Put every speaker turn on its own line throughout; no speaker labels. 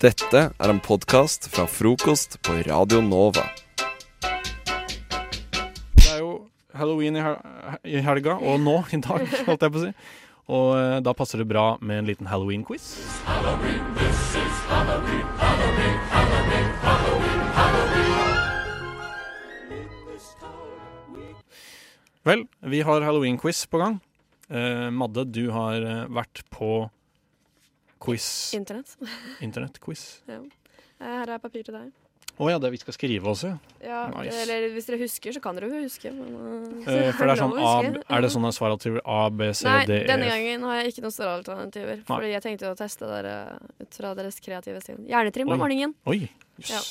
Dette er en podkast fra frokost på Radio Nova.
Det er jo halloween i hel- i helga, og nå, i dag, holdt jeg på å si. Og eh, da passer det bra med en liten halloween-quiz. Vel, vi har halloween-quiz på gang. Eh, Madde, du har eh, vært på quiz
Internett.
Internett-quiz.
Ja. Eh, Her er papir til deg.
Å ja, det vi skal skrive også, ja.
Ja,
Nice.
eller Hvis dere husker, så kan dere jo huske. Men, eh,
Eh, For det er
lov
sånn
å
A,
huske.
er det sånne svaralternativer A, B, C,
Nei,
D,
denne
E, F?
gangen har jeg ikke noen større alternativer. Fordi jeg tenkte å teste dere ut fra deres kreative sinn. Hjernetrim
Oi.
om morgenen.
Oi, jøss.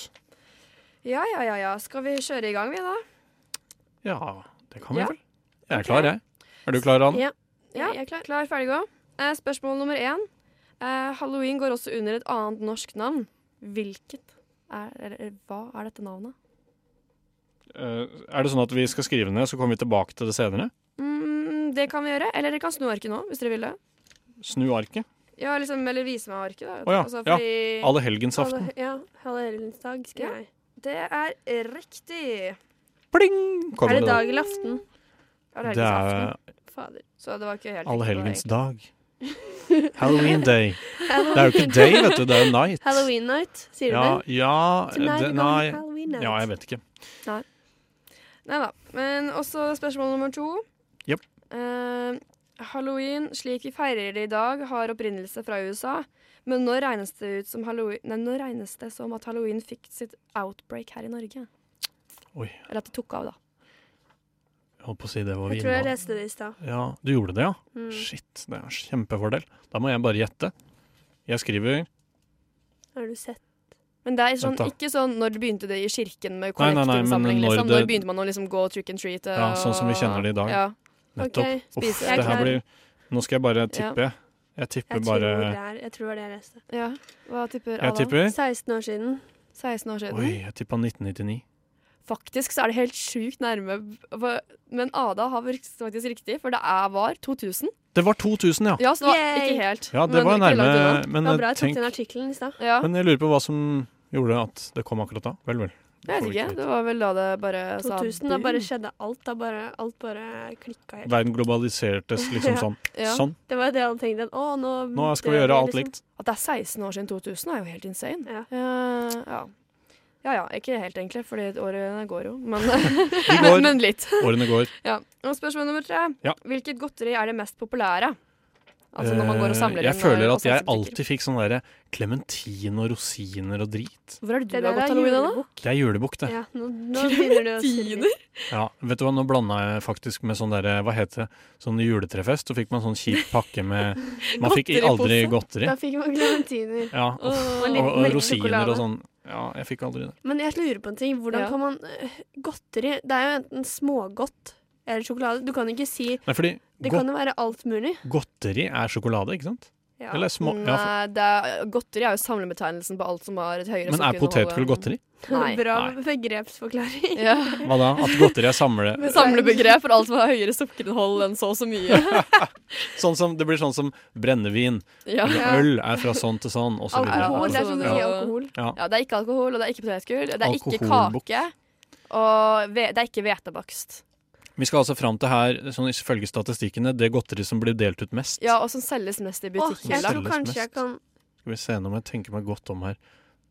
Ja, ja, ja, ja. Skal vi kjøre i gang, vi, da?
Ja. det kan vi
Ja.
vel. Jeg er klar, jeg. Er du klar, Anne?
Ja. ja jeg er klar. klar, ferdig, gå. Eh, spørsmål nummer én. Eh, Halloween går også under et annet norsk navn. Hvilket er Eller hva er dette navnet?
Eh, er det sånn at vi skal skrive ned, så kommer vi tilbake til det senere?
Mm, det kan vi gjøre. Eller dere kan snu arket nå, hvis dere vil det.
Snu arket.
Ja, liksom, eller vise meg arket, da.
Å ja,
Altså,
ja.
fordi-
Allehelgensaften.
Alle- Ja. Hallehelgensdag, skrev jeg. Det er riktig. er
Kommer
det
det
dag eller aften?
Det
Allehelgensaften.
er
Fader. Så det var ikke helt riktig.
allehelgensdag. Halloween day. Det er jo ikke day, vet du. Det er jo night.
Halloween night, sier
ja,
du det?
ja,
Tonight we're
det,
going
nei.
Halloween night.
ja, jeg vet ikke.
Nei da. Men også spørsmål nummer to.
Jep.
Eh, Halloween slik vi feirer det i dag, har opprinnelse fra USA. Men når regnes det ut som halloween Nei, når regnes det som at halloween fikk sitt outbreak her i Norge?
Oi.
Eller at det tok av, da.
Jeg holdt på å si det var
Jeg tror jeg
vinvalg.
leste det i stad.
Ja, du gjorde det, ja?
Mm.
Shit, det er en kjempefordel. Da må jeg bare gjette. Jeg skriver
Har du sett?
Men det er sånn,
Vent da.
ikke sånn når det begynte det i kirken med
Nei, nei, nei, men
kollektinnsamling.
når
Liksom.
det-
Når begynte man å liksom gå trick and treat?
Ja, sånn som vi
og-
kjenner det i dag.
Ja.
nettopp
Ok,
Uff,
spiser jeg
det her
klar.
blir Nå skal jeg bare tippe. Jeg tipper
Jeg tror,
bare
det er, jeg tror det var det jeg leste.
ja. Hva tipper
Jeg
Adam?
tipper
16 år siden.
16 år siden.
Oi, jeg tippa 1999.
Faktisk så er det helt sjukt nærme. for- Men Ada har faktisk riktig, for det er var 2000.
Det var 2000, ja.
Ja, så det var
Yay!
ikke helt.
Ja, det
men
var
ikke langt
nærme.
unna.
Men,
Det var bra jeg tok
tenk,
den artikkelen i stad.
Ja,
men jeg lurer på hva som gjorde at det kom akkurat da. Vel, vel.
jeg vet ikke. Det var vel da det
Eh,
bare sa
2000, da bare
boom.
skjedde alt. Da bare, alt bare klikka helt.
Verden globalisertes liksom
Ja.
sånn.
Ja.
Sånn,
Det var det alle tenkte. at, Å, nå,
nå skal vi
dør
gjøre
vi,
alt
liksom.
likt.
At det er 16 år siden 2000 er jo helt insane.
Ja.
Eh, ja. ja ja, ikke helt egentlig, fordi årene går jo. Men,
Vi går,
men litt.
årene går.
Ja. Og spørsmål nummer tre.
Ja.
Hvilket godteri er det mest populære? Altså når man går og samler
Eh, jeg
inn
føler
og-
at
og
jeg
satser på butikker.
alltid fikk sånn derre klementin og rosiner og drit.
Hvor er det du
Det
har
der
gått
er
halloween, da?
julebukk.
Det er julebukk, det.
Ja, nå, nå begynner du å surre.
Ja, vet du hva, nå blanda jeg faktisk med sånn derre, hva heter det, sånn juletrefest. Så fikk man sånn kjip pakke med Man fikk i- aldri godteri.
Da fikk man clementiner.
Ja, og,
Og
og,
litt
og
melk og
rosiner og
sjokolade.
sånn. Ja, jeg fikk aldri det.
Men jeg lurer på en ting. Hvordan
Ja.
kan man øh, Godteri Det er jo enten smågodt eller sjokolade. Du kan ikke si
Nei, fordi
Det
go
kan jo være alt mulig.
godteri er sjokolade, ikke sant?
Ja.
Eller små ja, for,
Nei, det er, godteri er jo samlebetegnelsen på alt som har et høyere
Men er potetgull godteri?
Nei.
Bra
Nei.
begrepsforklaring.
Ja.
Hva da? At godteri er samle...
Samlebegrep for alt som har høyere sukkerinnhold enn så og så mye.
Sånn som, det blir sånn som brennevin.
Ja.
Eller Øl er fra sånn til sånn, og så videre.
Alkohol. Det er sånn å si
Ja.
alkohol.
ja, det er ikke alkohol, og det er ikke potetgull, det er ikke
Alkoholbuks.
kake, og ve det er ikke hvetebakst.
Vi skal altså fram til her, sånn ifølge statistikkene, det godteri som blir delt ut mest.
Ja, og som selges mest i
Åh, jeg
butikkhylla.
selges
tror kanskje jeg
mest.
kan
Skal vi se nå må jeg tenke meg godt om her.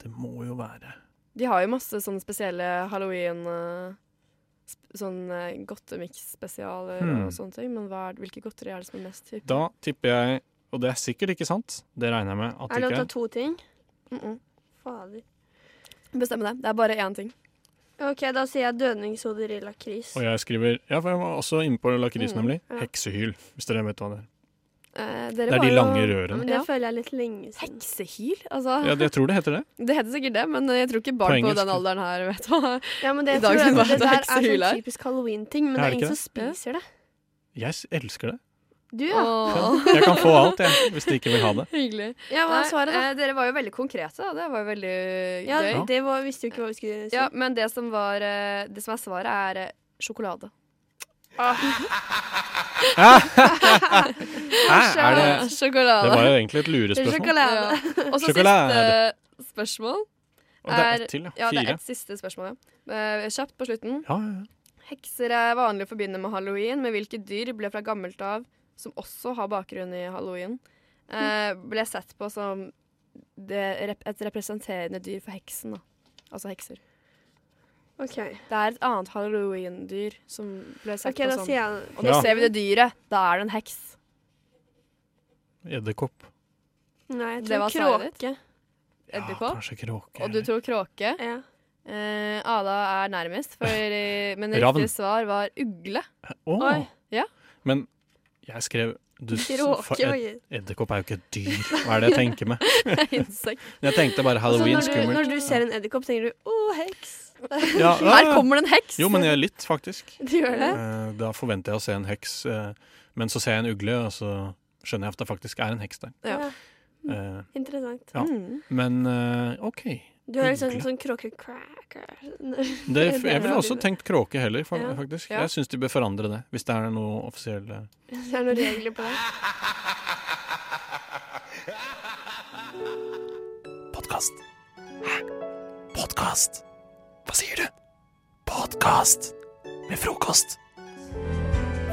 Det må jo være
De har jo masse sånne spesielle halloween eh, sp- Sånn eh, godtemix-spesialer
Hmm.
og sånne ting, men hva er, hvilke godteri er det som er mest hypp?
Da tipper jeg, og det er sikkert ikke sant, det regner jeg med at
Er det
det
lov til å ta
ikke
to ting?
Mm -mm.
Fader.
Bestemme det. Det er bare én ting.
OK, da sier jeg dødningshoder i lakris.
Og jeg skriver Ja, for jeg var også inne på lakris,
Mm,
nemlig.
ja.
Heksehyl, hvis dere vet hva det er.
Eh, dere
Det er
var
de
jo-
lange
Ja,
rørene.
men det
Ja.
føler jeg er litt lenge siden.
Heksehyl? Altså,
Ja, jeg tror det heter det.
det heter sikkert det, men jeg tror ikke
På
barn på
engelsk.
den alderen her vet hva
Ja, men
I
det, jeg
dag
tror jeg,
var
det
det
der er
heksehyl her.
sånn typisk halloween-ting, men
Er
det er
det
ingen som
ikke det?
spiser det.
Jeg s- elsker det.
Du, ja.
Åh.
Jeg kan få alt, jeg, hvis de ikke vil ha det.
Hyggelig.
Ja, hva er svaret, da?
Eh, dere var jo veldig konkrete, da. Det var jo veldig
Ja,
gøy.
det var, visste jo ikke hva vi skulle si.
Ja, men det som, var, eh, det som er svaret, er eh, sjokolade.
Hæ, er det
Sjokolade.
Det var jo egentlig et lurespørsmål.
Sjokolade.
Ja. Og så
Sjokolade.
siste spørsmål.
Og det er
Er-
ett til, ja.
Ja, det er
Fire.
et siste spørsmål, ja. Eh, Kjapt på slutten.
Ja, ja, ja.
Hekser er vanlig å forbinde med halloween, men hvilke dyr ble fra gammelt av, som også har bakgrunn i halloween, eh, ble sett på som det, rep- et representerende dyr for heksen? Da. Altså hekser.
OK,
Det er et annet halloween-dyr som ble sett
Ok,
på
da
som
sier jeg
Og nå
Ja.
ser vi det dyret. Da er det en heks.
Edderkopp.
Nei, jeg
Det
tror
var svaret ditt.
kråke.
Ja,
Edderkopp.
kanskje kråke.
Og du tror kråke.
Ja.
Eh, Ada er nærmest, for, eh, men
Ravn.
riktig svar var ugle.
Å.
Oi, ja.
Men jeg skrev du, s- for
Kråke
ed-
og
Edderkopp er jo ikke et dyr. Hva er det jeg tenker med?
Insekt.
Jeg tenkte
Altså,
bare halloween,
Så Altså, når, du,
skummelt.
når du ser en edderkopp, tenker du 'å, heks'.
Ja, ja,
Her
ja.
kommer det en heks!
Jo, men jeg er litt, faktisk.
Du gjør det?
Eh, Da forventer jeg å se en heks, eh, men så ser jeg en ugle, og så skjønner jeg at det faktisk er en heks der.
Ja.
Eh,
Interessant.
Ja.
Mm.
Men eh, OK.
Du har litt sånn,
liksom
Ugle.
sånn kråke-cracker.
Det, jeg ville også
Det
tenkt kråke heller, fa-
Ja.
faktisk.
Ja.
Jeg syns de bør forandre det, hvis det er noe eh. offisielle
er noen regler på det.
Podkast. Hæ? Podkast? Hva sier du? Podkast med frokost.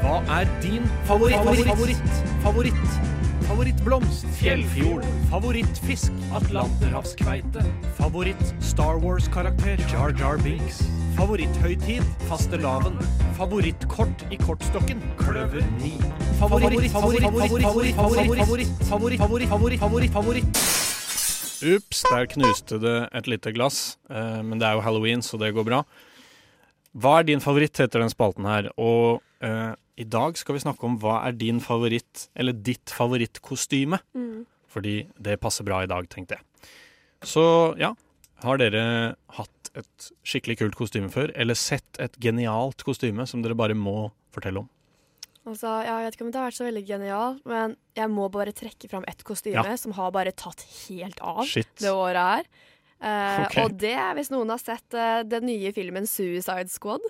Hva er din favoritt? Favoritt, favoritt, Favorittblomst? Fjellfjord. Favorittfisk? Atlanterhavskveite. Favoritt Star Wars-karakter? Jar Jar Binks. Favoritthøytid? Fastelavn. Favorittkort i kortstokken? Kløver 9. Favoritt, favoritt, favoritt, favoritt, favoritt, favoritt, favoritt, favoritt, favoritt, favoritt, favoritt. Ups, der knuste det et lite glass. Eh, Men det er jo halloween, så det går bra. Hva er din favoritt, heter den spalten her. Og eh, i dag skal vi snakke om hva er din favoritt, eller ditt favorittkostyme.
Mm.
Fordi det passer bra i dag, tenkte jeg. Så ja, har dere hatt et skikkelig kult kostyme før? Eller sett et genialt kostyme som dere bare må fortelle om?
Altså, jeg vet ikke om det har vært så veldig genial, men jeg må bare trekke fram ett kostyme
Ja.
som har bare tatt helt av
Shit.
det året her. Eh,
Ok.
Og det er hvis noen har sett eh, den nye filmen Suicide Squad.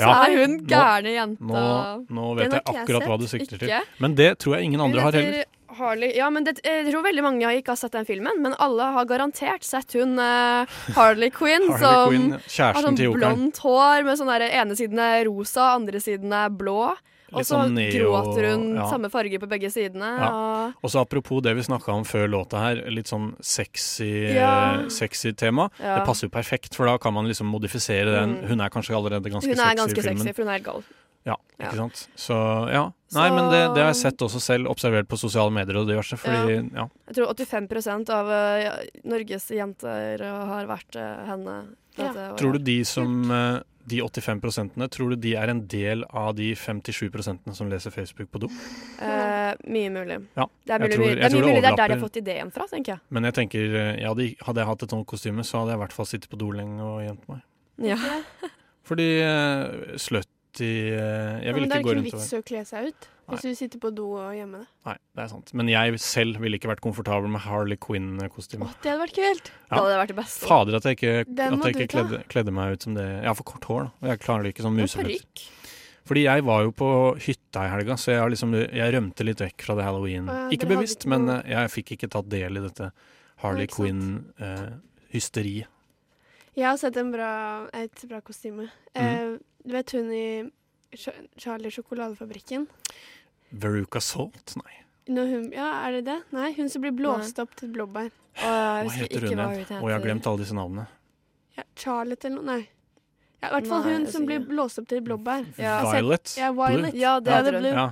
Så
Ja,
er hun
Nå-
gærne jenta.
nå, nå vet
Den
jeg
har ikke jeg
akkurat hva du sikter til. Men det tror jeg ingen
Hun
andre har heller.
heter Harley. Ja, men det, eh, jeg tror veldig mange har ikke har sett den filmen, men alle har garantert sett hun eh, Harley Quinn
Harley
som
Quinn,
har
kjæresten
sånn
til jokeren.
blondt hår med sånn der ene siden er rosa, andre siden er blå. Og
Litt
så
sånn neo-
gråter hun
ja.
samme farge på begge sidene.
Ja. Og så apropos det vi snakka om før låta her, litt sånn sexy,
Ja.
eh, sexy tema.
Og, ja.
Det passer jo perfekt, for da kan man liksom modifisere den.
Mm.
Hun er kanskje allerede ganske
Hun
sexy
er ganske
i filmen.
sexy, for hun er helt gal.
Ja,
Ja.
ikke sant? Så ja. Nei,
Så-
men det, det har jeg sett også selv, observert på sosiale medier og diverse. Fordi, ja.
Jeg tror 85 av eh, Norges jenter har vært eh, henne.
Ja.
dette året.
Tror du de som eh, De 85 tror du de er en del av de 57 som leser Facebook på do?
Eh, mye mulig.
Ja,
det er, mulig,
jeg tror-
mulig. Det
jeg
er
tror
mye
det
mulig det er der de har
overlapper.
fått ideen fra, tenker jeg.
Men jeg tenker, eh, ja, de, hadde jeg hatt et sånt kostyme, så hadde jeg i hvert fall sittet på do lenge og gjemt meg.
Ja.
Fordi uh, slutty eh, Jeg vil
men det
ikke
er ikke noen
gå rundt og
vits å kle seg ut hvis du sitter på do og gjemmer deg.
Nei, det er sant. Men jeg selv ville ikke vært komfortabel med Harley
Å,
Quinn-kostyme.
det hadde vært kult!
Det hadde vært det beste.
Fader, at jeg ikke,
Den
at
må
jeg
du
ikke
ta.
kledde, kledde meg ut som det. Jeg har for kort hår, da. Og jeg klarer ikke sånn
Og
museføtter.
parykk.
Fordi jeg var jo på hytta i helga, så jeg, har liksom, jeg rømte litt vekk fra det halloween.
Å ja, dere
ikke
hadde
bevisst,
ikke
men
noe-
eh, jeg fikk ikke tatt del i dette Harley eh,
Nei, ikke sant.
Quinn-hysteriet.
Jeg har sett en bra, et bra
Mhm.
kostyme. Eh, du vet hun i Ch- Charlie sjokoladefabrikken?
Veruca Salt? Nei.
Når hun, ja, er det det? Nei, hun som blir blåst opp til et blåbær.
Å, jeg
Hva
husker
heter
ikke
hun
hva
igjen? Å, jeg har glemt alle disse navnene.
Ja, Charlotte eller noe? Nei. Ja, I hvert fall
Nei,
hun
jeg
som
sier
blir
det.
blåst opp til et blåbær.
Ja.
Altså,
Violet?
Ja, Violet.
Ja, det
Ja,
hadde
det
hun.
ble-
Ja.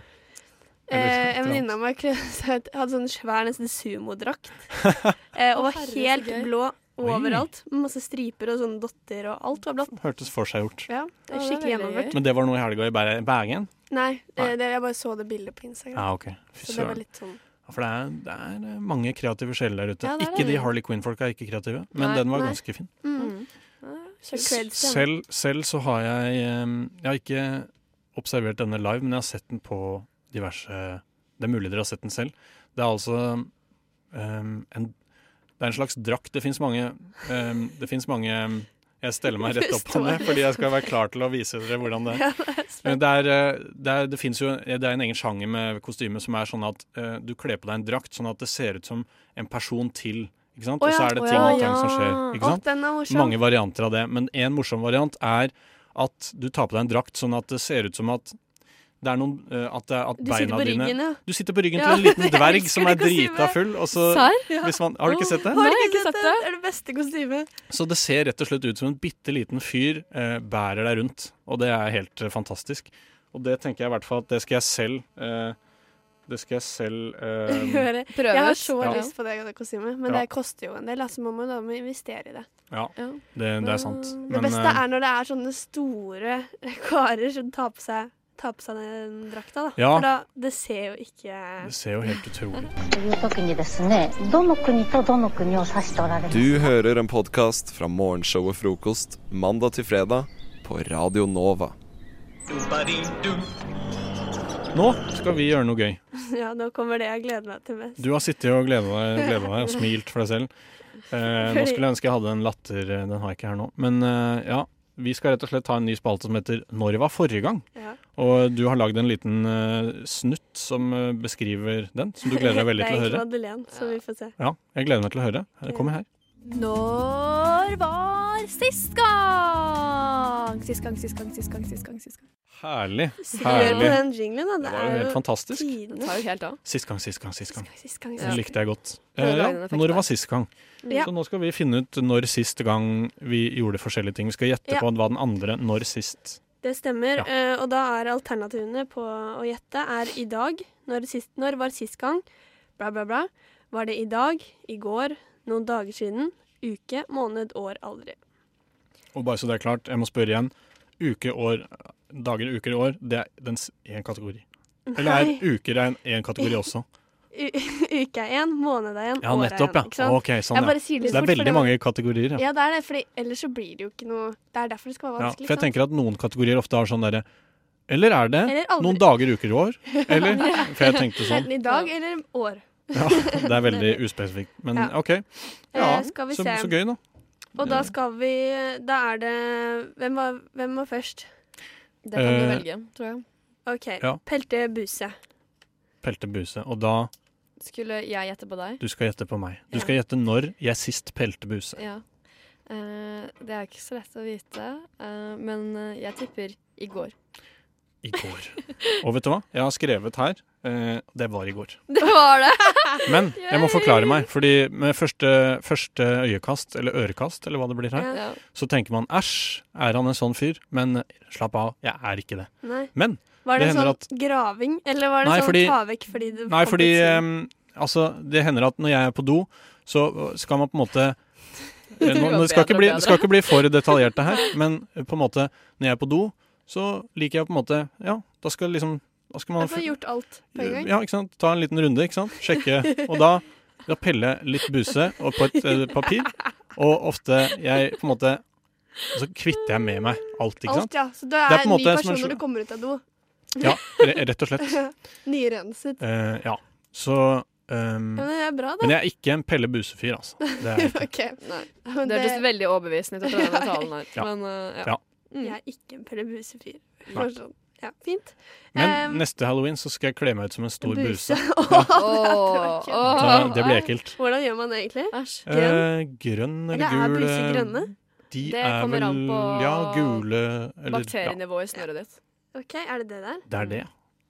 Eh,
Eller
en
et eller annet.
venninne av meg kledde seg ut- hadde sånn svær, nesten sumodrakt. Eh, og
Å,
var
herre, så
helt
gøy.
blå overalt. med Masse striper og sånne dotter, og alt var blått.
Hørtes forseggjort.
Ja,
Ja,
det er
det er
skikkelig
veldig
gjennomført.
gøy.
Men det var noe i helga i Ber- Bergen?
Nei,
Nei.
eh, det, jeg bare så det bildet på Instagram.
Ja, OK. Fy
så det var
søren.
litt sånn
Ja, For det er, det er mange kreative sjeler der ute.
Ja, det er det.
ikke de Harley Quinn-folka er ikke kreative, men
Nei,
den var
nei.
ganske fin.
mm.
Mm.
Så creds til henne.
Selv, selv så har jeg eh, Jeg har ikke observert denne live, men jeg har sett den på diverse Det er mulig dere har sett den selv. Det er altså eh, en Det er en slags drakt. Det fins mange eh, Det fins mange Jeg steller meg rett opp på det, fordi jeg skal være klar til å vise dere hvordan det er.
Ja, det er
Men
sant.
Det er, eh, det, er, det, finnes jo, det er en egen sjanger med kostyme som er sånn at eh, du kler på deg en drakt sånn at det ser ut som en person til Ikke sant?
Å
Og så
ja,
er det
å
ting
ja,
og tang som
ja.
skjer. Ikke sant?
Å, den er morsom.
Mange varianter av det. Men en morsom variant er at du tar på deg en drakt sånn at det ser ut som at det er noen eh, At, det, er- at
du sitter
beina
på
dine
ryggen, ja.
Du sitter på ryggen
Ja,
til en liten
jeg
dverg
elsker
som er
det kostymet.
drita full, og så
Serr?
altså, hvis man, Har du ikke sett det?
Har jeg ikke sett det?
Det er det beste kostymet.
Så det ser rett og slett ut som en bitte liten fyr eh, bærer deg rundt, og det er helt eh, fantastisk. Og det tenker jeg i hvert fall at det skal jeg selv eh, Det skal jeg selv eh,
Gjøre.
Prøves.
Jeg har så
Ja.
lyst på det kostymet, men
Ja.
det koster jo en del. Altså, man må da må investere i det.
Ja,
Ja.
det, det er sant.
Det
Men,
beste
eh,
er når det er sånne store karer som tar på seg, tar på seg den drakta, da.
Ja.
For da, det ser jo ikke
det ser jo helt utrolig ut.
という時にですねどの国とどの国を指しておられる
Du hører en podkast fra morgenshowet Frokost mandag til fredag på Radio Nova.
Nå skal vi gjøre noe gøy.
Ja, nå kommer det jeg gleder meg til mest.
Du har sittet og gleda deg, gledet deg og smilt for deg selv. Eh, nå skulle jeg ønske jeg hadde en latter, eh, den har jeg ikke her nå. Men eh, ja, vi skal rett og slett ta en ny spalte som heter 'Når var forrige gang?'
Ja.
Og du har lagd en liten eh, snutt som eh, beskriver den, som du gleder deg veldig
Det
til å
er
høre.
ikke Madeleine, så vi får se.
Ja, jeg gleder meg til å høre. Det kommer her.
Når var sist gang? Sist gang, sist gang, sist gang. sist gang, sist gang.
Herlig.
Hør på
Herlig.
den jinglen, da. Det
Det var
er
jo helt
jo
fantastisk.
Det
tidenes
tar jo helt av.
Sist gang, sist gang, sist gang.
Sist gang,
Den
sist
likte jeg godt.
Prøv å
Eh,
lage
ja,
en effekt
når
der.
var sist gang?
Ja.
Så nå skal vi finne ut når sist gang vi gjorde forskjellige ting. Vi skal gjette
Ja.
på hva den andre når sist
Det stemmer.
Ja.
eh, og da er alternativene på å gjette er i dag, når, sist, når var sist gang, bla, bla, bla. Var det i dag, i går, noen dager siden, uke, måned, år, aldri.
Og bare så det er klart, jeg må spørre igjen. Uke, år, dager, uker, år, det er den s- én kategori. Eller
Nei.
er uker en, en kategori også?
U uke er én, måned er én,
Ja,
år er
nettopp,
én. ikke
ja.
sant?
Ok, sånn,
Jeg
ja.
bare sier
Så
det
det er
fort, for
veldig mange kategorier, ja.
Ja, det er det, for ellers så blir det jo ikke noe Det er derfor det skal være
ja.
vanskelig.
For jeg tenker at noen kategorier ofte har sånn derre Eller er det
Eller aldri.
noen dager, uker, år? Eller? For jeg tenkte sånn.
Enten i dag eller år.
Ja, det er veldig uspesifikt. Men
Ja.
OK. Ja,
Eh, skal vi
så,
se.
så gøy, da.
Og da skal vi Da er det Hvem var, hvem var først?
Det kan du
Eh,
velge, tror jeg.
OK.
Ja.
Pelte Buse.
Pelte buse. Og da
Skulle jeg gjette på deg?
Du skal gjette på meg. Du
Ja.
skal gjette når jeg sist pelte buse.
Ja. Eh, det er ikke så lett å vite, eh, men eh, jeg tipper i går.
I går. Og vet du hva? Jeg har skrevet her. eh, det var i går.
Det var det!
Men jeg må forklare meg, fordi med første, første øyekast, eller ørekast, eller hva det blir her,
Ja.
Ja.
så tenker man æsj, er han en sånn fyr? Men eh, slapp av, jeg er ikke det.
Nei.
Men
Mm. Var det,
Det hender
sånn
at-
graving, eller var det
Nei,
sånn
fordi-
ta vekk fordi det
Nei,
kom
fordi
plutselig?
eh, altså, det hender at når jeg er på do, så skal man på en måte Eh, Nå,
går
nå
bedre
skal ikke
og
bli,
bedre.
skal ikke bli for detaljert det her, men eh, på en måte, når jeg er på do, så liker jeg på en måte Ja, da skal liksom Da skal man
Jeg får gjort alt på en gang.
Ja, ikke sant? Ta en liten runde, ikke sant? Sjekke. Og da, da pelle litt buse og på et eh, papir. Og ofte jeg på en måte Så kvitter jeg med meg alt, ikke sant?
Alt, ja. Så du er,
Det er på en
en ny
måte som en
person
sl-
når du kommer ut av do.
Ja, re- rett og slett.
Nyrenset.
Eh, ja. Så ehm,
Ja, men det er bra, da.
Men jeg er ikke en Pelle Buse-fyr, altså. Det er jeg ikke.
OK.
Nei.
Men
Det hørtes
det,
veldig overbevisende ut etter denne talen her.
Ja.
Men eh,
Ja.
ja. Mm.
jeg er ikke en Pelle Buse-fyr.
Nei.
Bare sånn. Ja, fint.
Men
Ehm,
neste halloween så skal jeg kle meg ut som en stor buse.
Åh,
Åh,
Da, det blir ekkelt.
Hvordan gjør man det egentlig?
Æsj.
Eh, grønn
Eller
eller
er
gul
buser
eh,
grønne?
De
Det
er
kommer
vel
an på
Ja, gule eller ja,
Bakterienivået i snøret ditt.
Ok, Er det det der?
Det er det.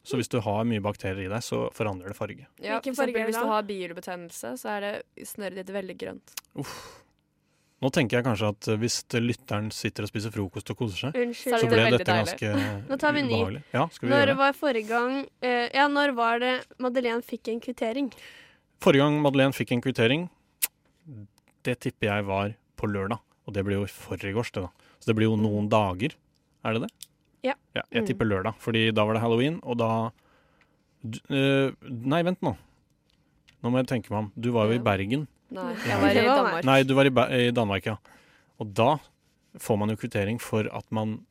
Så hvis du har mye bakterier i deg, så forandrer det farge.
Ja, for
Hvilken farge
eksempel,
er det
hvis du
da?
har bihulebetennelse, så er det snøret ditt veldig grønt.
Nå tenker jeg kanskje at eh, hvis det- lytteren sitter og spiser frokost og koser seg,
Unnskyld.
Så
så
det blir
ble
veldig
dette ganske
Nå tar vi en ny.
ubehagelig. Ja, skal vi
Når
gjøre det?
var forrige gang eh, Ja, når var det Madeleine fikk en kvittering?
Forrige gang Madeleine fikk en kvittering, det tipper jeg var på lørdag. Og det blir jo i forgårs, det da. Så det blir jo noen dager. Er det det?
Ja.
jeg
Mm.
tipper lørdag, fordi da var det halloween, og da du, eh, Nei, vent nå. Nå må jeg tenke meg om. Du var jo
Ja.
i Bergen.
Nei,
Ja.
jeg var i
Det var
Danmark.
Nei, du var i, Ba- i Danmark, ja. Og da får man jo kvittering for at man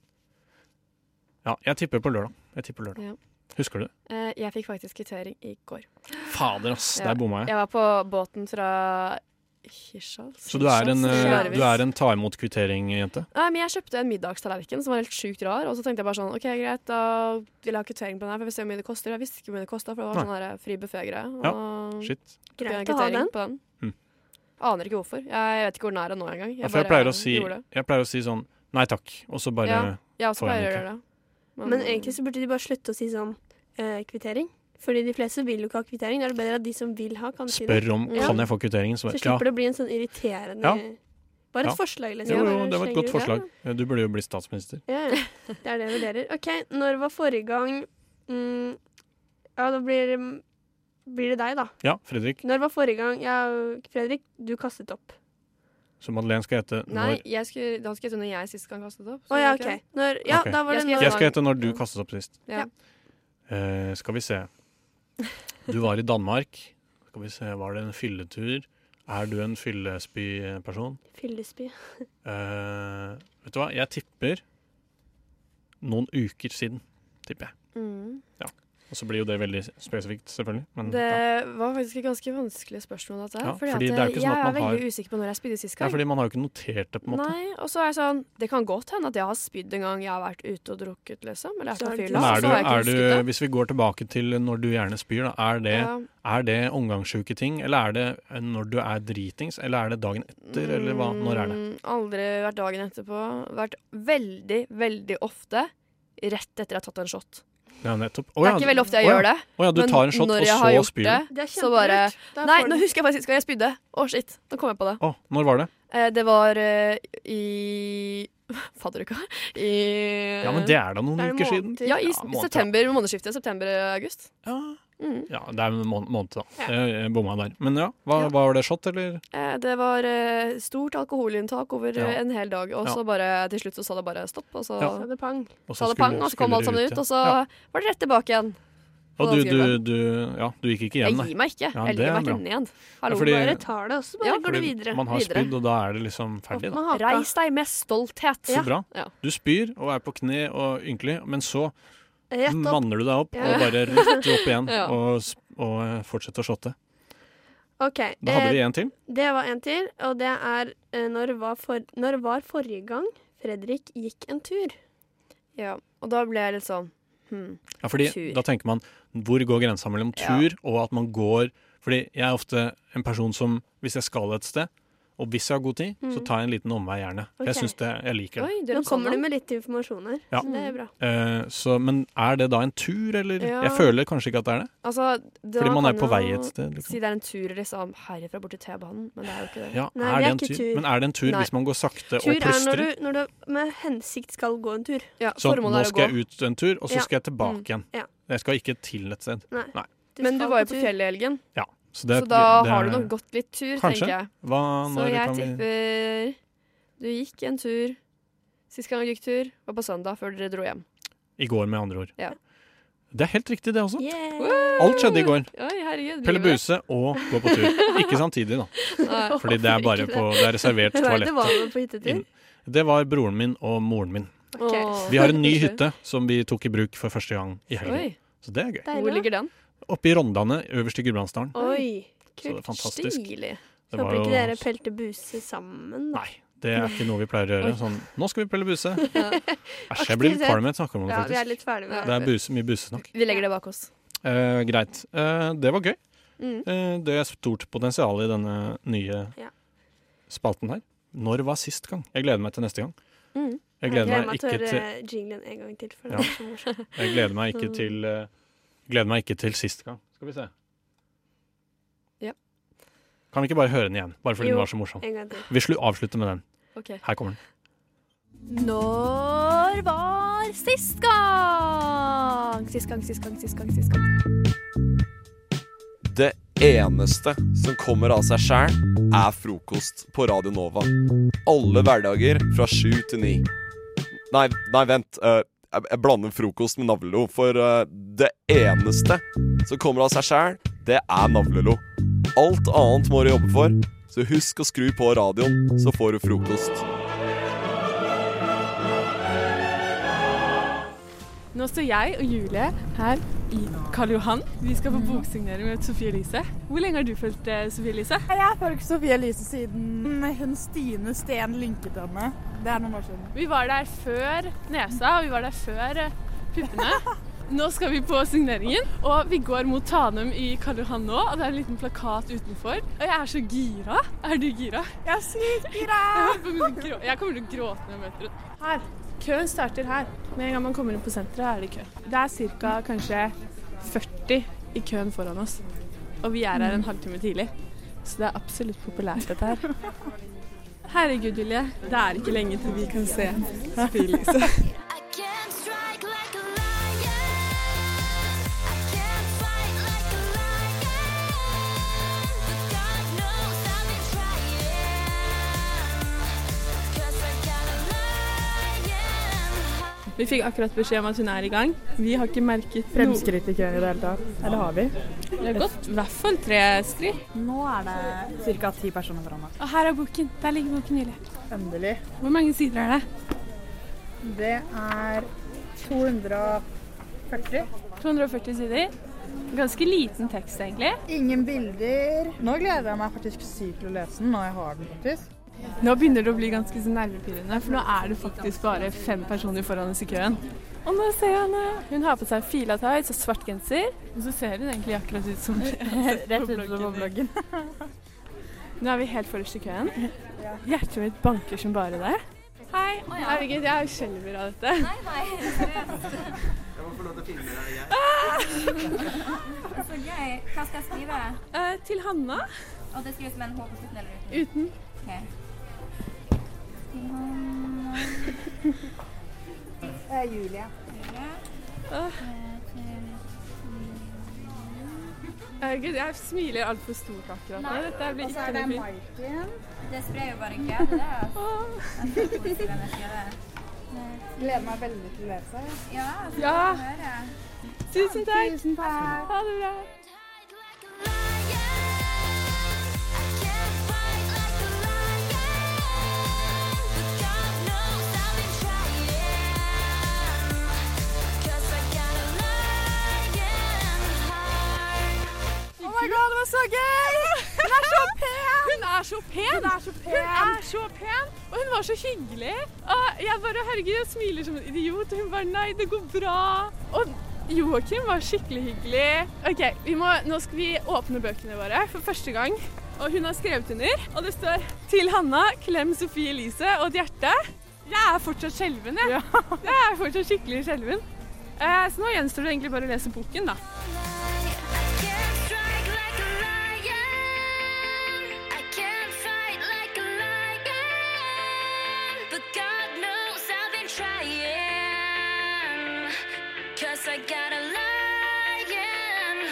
Ja, jeg tipper på lørdag. Jeg tipper lørdag.
Ja.
Husker du det?
Eh, Jeg fikk faktisk kvittering i går.
Fader, ass!
Ja.
Der bomma jeg.
Jeg var på båten fra Hirtshals.
Så du er en,
Hirtshals?
eh,
Larvik.
du er en ta imot kvittering-jente?
Nei, men Jeg kjøpte en middagstallerken som var helt sjukt rar. Og så tenkte jeg bare sånn OK, greit, da vil jeg ha kvittering på den her. For jeg vil se hvor mye det koster. Jeg visste ikke hvor mye det kosta, for det var sånn her fri eh, buffé-greie.
Ja,
og-
Shit.
tok jeg
Greit å ha
kvittering
den.
På den.
Mm.
Aner ikke hvorfor. Jeg vet ikke hvor den er nå engang.
Ja, for jeg pleier, å
bare
si,
gjorde det.
jeg pleier å si sånn Nei takk. Og så bare
Ja. Jeg også
får
pleier
jeg
å
den
gjøre det.
Men egentlig så burde de bare slutte å si sånn eh, kvittering. Fordi de fleste vil jo ikke ha kvittering. Da er det bedre at de som vil ha, kan si det.
spør om
Ja.
Kan jeg få kvitteringen. Så
Så
bare, ja.
slipper det å bli en sånn irriterende
Ja.
Bare et
Ja.
forslag, liksom.
Jo,
Bare
jo, det var et godt
slenger
forslag. Du burde jo bli statsminister.
ut. Ja, ja. Det er det jeg vurderer. OK, når var forrige gang mm, Ja, da blir, blir det deg, da.
Ja, Fredrik.
Når var forrige gang ja, Fredrik, du kastet opp.
Så Madeleine skal hete
Nei,
når
jeg skulle, da skulle jeg tro når jeg sist gang kastet opp. så
Å ja,
gjorde jeg
OK. Når, ja,
Ok.
da var det
Jeg skal
når
Jeg skal hete når du kastet opp sist.
Ja.
Eh, skal vi se. Du var i Danmark. Skal vi se, Var det en fylletur? Er du en fyllespyperson?
Fyllesby.
Eh, vet du hva, jeg tipper noen uker siden. Tipper jeg.
ikke det. Mm.
Og så blir jo det veldig spesifikt, selvfølgelig. Men,
Det
Mm, ja.
var faktisk et ganske vanskelig spørsmål. Dette, her,
Ja,
fordi
fordi
at
det er jo ikke sånn
jeg
at
er
man har-
veldig usikker på når jeg spydde sist
ja,
gang.
fordi man har jo ikke notert det, på en måte.
Nei, og så er jeg sånn Det kan godt hende at jeg har spydd en gang jeg har vært ute og drukket, liksom. Eller jeg
Så
er
er
på
det
fylla.
Men
Ja,
er
så
du,
har jeg ikke
er
husket
du,
det.
hvis vi går tilbake til når du gjerne spyr, da, er det,
Ja.
er det omgangssjuketing, eller er det eh, når du er dritings, eller er det dagen etter, eller hva, når er det?
Mm, Aldri vært dagen etterpå. Vært veldig, veldig ofte rett etter jeg har tatt en shot.
Ja, nettopp.
det er ikke veldig ofte jeg gjør det.
Å ja, du
men
tar en shot,
når
og
jeg har
så
gjort
spyr
det
du.
Det er
Så bare-
kjempelurt. Da
Nei,
får
nå
du-
husker jeg faktisk hva jeg spydde. Å, shit. Nå kom jeg på det.
Å, når var det?
Eh, det var eh, i Fadderuka. I
Ja, men det er da noen
Da er det
uker siden.
måneder.
Ja, i s-
Ja, måned,
september, månedsskiftet september-august.
Ja,
Mm.
ja det er en mån- måned, da.
Ja.
Jeg, jeg bomma der. Men ja, hva,
Ja.
hva var det shot, eller?
Eh, Det var eh, stort alkoholinntak over eh,
Ja.
en hel dag, og
Ja.
så bare til slutt så sa det bare stopp, og så
Ja.
Så det pang.
Og
sa det
skulle-
pang, og så kom
skulle
alt sammen
dere
ut, og så
Ja.
var det rett tilbake igjen.
Og du,
Vanskelig,
du, du, ja, du gikk ikke
Jeg
igjen, nei.
gir meg ikke.
Ja,
jeg
det
ligger
er
meg
bra.
inne igjen. Hallo.
fordi-
Bare tar det, og så bare
Ja,
går det
Fordi
videre.
Man har
Videre.
spydd, og da er det liksom ferdig,
Opp
da.
med haka.
Reis deg med stolthet.
Så bra.
Ja.
Du spyr og er på kne og ynkelig, men så
Rett opp.
manner du deg opp
Ja.
og bare retter opp igjen
Ja.
og, s- og eh, fortsetter å shotte.
OK.
Da hadde
eh,
vi en til.
Det var en til, og det er eh, når var, for, når var forrige gang Fredrik gikk en tur?
Ja. Og da ble jeg litt sånn hmm.
Ja, fordi
Tur.
da tenker man hvor går grensa mellom
Ja.
tur og at man går Fordi jeg er ofte en person som hvis jeg skal et sted, og hvis jeg har god tid, så
Mm.
tar jeg en liten omvei gjerne. For Jeg
Ok.
synes det, jeg liker det.
Oi, du er
Nå
en sånn
kommer du
mann.
med litt informasjon her,
Ja.
så det er bra.
Eh, så, men er det da en tur, eller?
Ja.
Jeg føler kanskje ikke at det er det.
Altså, da
Fordi man er
kan
på
jo
vei et sted. Liksom.
Si det er en tur liksom herifra bort til T-banen, men det er jo ikke det.
Ja,
Nei,
er
det er
det en
ikke
tur?
tur.
Men er det en tur
Nei.
hvis man går sakte
Tur
og
er når
plystrer?
du, når du med hensikt skal gå en tur.
Ja,
Så nå
formålet er å gå.
skal jeg ut en tur, og så
Ja.
skal jeg tilbake
Mm.
igjen.
Ja.
Jeg skal ikke til et sted.
Du
Men du
skal
var jo på
tur.
fjellet i helgen,
Ja, så, det,
så da
det
har
er-
du nok gått litt tur,
Kanskje.
tenker jeg.
Hva,
Så
når
jeg
kan vi
tipper du gikk en tur. Sist gang du gikk tur, var på søndag før dere dro hjem.
I går, med andre ord.
Ja.
Det er helt riktig, det også.
Yeah.
Alt skjedde i går.
Oi, herregud.
Pelle
livet.
Buse og gå på tur. Ikke samtidig, da.
Nei.
Fordi det er bare på, det er reservert
Nei,
toalett.
det var jo på hyttetur.
Inn. Det var broren min og moren min.
Ok.
Åh.
Vi har en ny hytte som vi tok i bruk for første gang i helgen.
Oi,
Så det er gøy.
hvor
Deilig. da.
ligger den?
Oppe i Rondane, øverst i Gudbrandsdalen.
Oi.
Så det er fantastisk.
Stilig.
Det
Håper
var jo
ikke dere pelte buse sammen. Da.
Nei, det er ikke noe vi pleier å gjøre. Sånn Nå skal vi pelle buse. Æsj, jeg blir litt
Aktivitet.
kvalm når jeg snakker om det,
Ja, vi er
faktisk.
litt ferdig med
Det
det.
er buse, mye busesnakk.
Vi legger det bak oss.
Eh, greit. Eh, det var gøy.
Mm.
Eh, det er stort potensial i denne nye
Ja.
spalten her. Når var sist gang? Jeg gleder meg til neste gang.
Mm.
Jeg gleder meg
til
ikke
å
til,
høre
eh,
jinglen en gang til, for
Ja.
det er så morsomt.
jeg gleder meg
Mm.
Mm.
ikke til eh, Gleder meg ikke til sist gang. Skal vi se.
Ja.
Kan vi ikke bare høre den igjen? Bare fordi
Jo.
den var så morsom.
En gang til.
Vi slu, avslutter med den.
Ok.
Her kommer den.
Når var sist gang? Sist gang, sist gang, sist gang, sist gang.
Det eneste som kommer av seg sjæl, er frokost på Radio Nova. Alle hverdager fra sju til ni. Nei, nei, vent. eh, jeg, jeg blander frokost med navlelo, for eh, det eneste som kommer av seg sjæl, det er navlelo. Alt annet må du jobbe for, så husk å skru på radioen, så får du frokost.
Nå står jeg og Julie her i Karl Johan. Vi skal på
Mm.
boksignering med Sofie Elise. Hvor lenge har du fulgt eh, Sofie Elise?
Jeg har ikke Sofie Elise siden eh, hun Stine Steen lynket henne. Det er noen år siden.
Vi var der før nesa, og vi var der før eh, puppene. Nå skal vi på signeringen, og vi går mot Tanum i Karl Johan nå. Og det er en liten plakat utenfor. Og jeg er så gira. Er du gira?
Jeg er sykt gira!
Jeg holder på sånn å grå- Jeg kommer til å gråte når jeg møter henne.
Her. Køen starter her. Med en gang man kommer inn på senteret, er det kø.
Det er ca. kanskje 40 i køen foran oss. Og vi er her
Mm.
en halvtime tidlig. Så det er absolutt populært, dette her. Herregud, Julie. Det er ikke lenge til vi kan se liksom. spylyset. Vi fikk akkurat beskjed om at hun er i gang. Vi har ikke merket noe.
Fremskritt i køen i det hele tatt. Eller har vi?
Det har gått i hvert fall tre skritt.
Nå er det ca. ti personer foran meg.
Og her er boken. Der ligger boken, Julie.
Endelig.
Hvor mange sider er det?
Det er 240.
240 sider. Ganske liten tekst, egentlig.
Ingen bilder. Nå gleder jeg meg faktisk sykt til å lese den når jeg har den, faktisk.
Nå begynner det å bli ganske så nervepirrende, for nå er det faktisk bare fem personer foran oss i køen. Og nå ser jeg henne. Hun har på seg fila tights og svart genser. Og så ser hun egentlig akkurat ut som Rett ut som bloggen. Nå er vi helt forrest i køen. Hjertet mitt banker som bare det. Hei. Herregud, jeg skjelver av dette. Nei, nei. Ah!
Så gøy. Hva skal jeg skrive?
Eh, til Hanna.
Og det skrives med en H på slutten eller uten?
Uten.
Til Hanna
Julie.
Julie.
Åh.
Eh, til-
Herregud, jeg smiler altfor stort akkurat nå. Dette
altså,
blir ikke noe fint.
Maiken.
Det sprer jo bare glede. det, altså.
Åh.
Jeg får positiv energi av det.
Gleder meg veldig til å lese.
Ja, altså,
Ja.
jeg hører.
Tusen takk. Ha det bra. Oh my god, det var så gøy! Hun er så pen! Hun er så pen! Hun er så pen, Og hun var så hyggelig. Og jeg bare herregud, jeg smiler som en idiot, og hun bare nei, det går bra. Og Joakim var skikkelig hyggelig. Ok, vi må, Nå skal vi åpne bøkene våre for første gang. Og hun har skrevet under. Og det står 'Til Hanna, klem Sofie Elise' og et hjerte. Jeg er fortsatt skjelven, jeg. Jeg er fortsatt skikkelig skjelven. Eh, så nå gjenstår det egentlig bare å lese boken, da.
I got a lion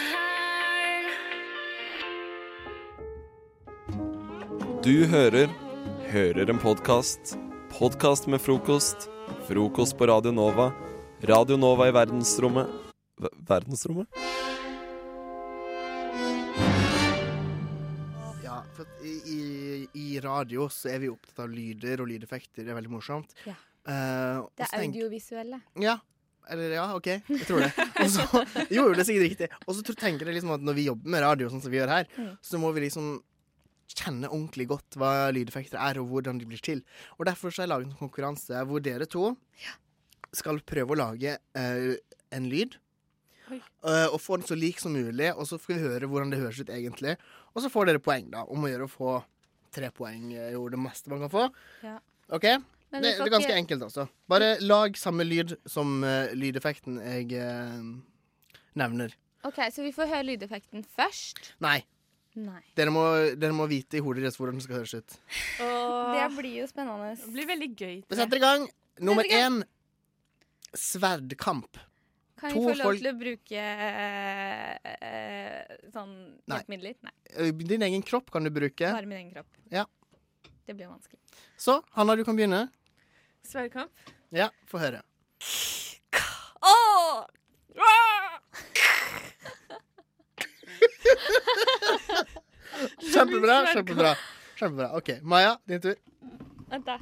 heart.
Du hører Hører en podkast. Podkast med frokost. Frokost på Radio Nova. Radio Nova i verdensrommet Ver- Verdensrommet?
Ja, for at i, i, i radio så er vi jo opptatt av lyder og lydeffekter. Det er veldig morsomt.
Ja.
Eh, og
Det
så
er
tenk-
audiovisuelle.
Ja. Eller ja, OK. Jeg tror det. Og så, jo, jo, det er sikkert riktig. Og så tror- tenker jeg liksom at når vi jobber med radio, sånn som vi gjør her,
Mm.
så må vi liksom kjenne ordentlig godt hva lydeffekter er, og hvordan de blir til. Og derfor så har jeg laget en konkurranse hvor dere to skal prøve å lage eh, en lyd.
Oi.
eh, og få den så lik som mulig, og så får vi høre hvordan det høres ut egentlig. Og så får dere poeng, da. Om å gjøre å få tre poeng er jo det meste man kan få.
Ja.
OK?
Men vi
Det, det
får
er ganske
ikke-
enkelt, altså. Bare lag samme lyd som eh, lydeffekten jeg eh, nevner.
OK, så vi får høre lydeffekten først.
Nei,
Nei.
dere må, dere må vite i hodet deres hvordan det skal høres ut.
Og
Det blir jo spennende.
Det blir veldig gøy.
Vi setter i gang. Nummer én sverdkamp.
kan
To
vi få lov
folk-
til å bruke eh, eh, sånn
Nei.
hjelpemidler? Nei.
Eh, Din egen kropp kan du bruke.
Bare min egen kropp.
Ja.
Det blir vanskelig.
Så Hanna, du kan begynne.
Sverdkamp.
Ja, få høre.
Åh!
Kjempebra. kjempebra Kjempebra, OK. Maja, din tur.
Vent, da.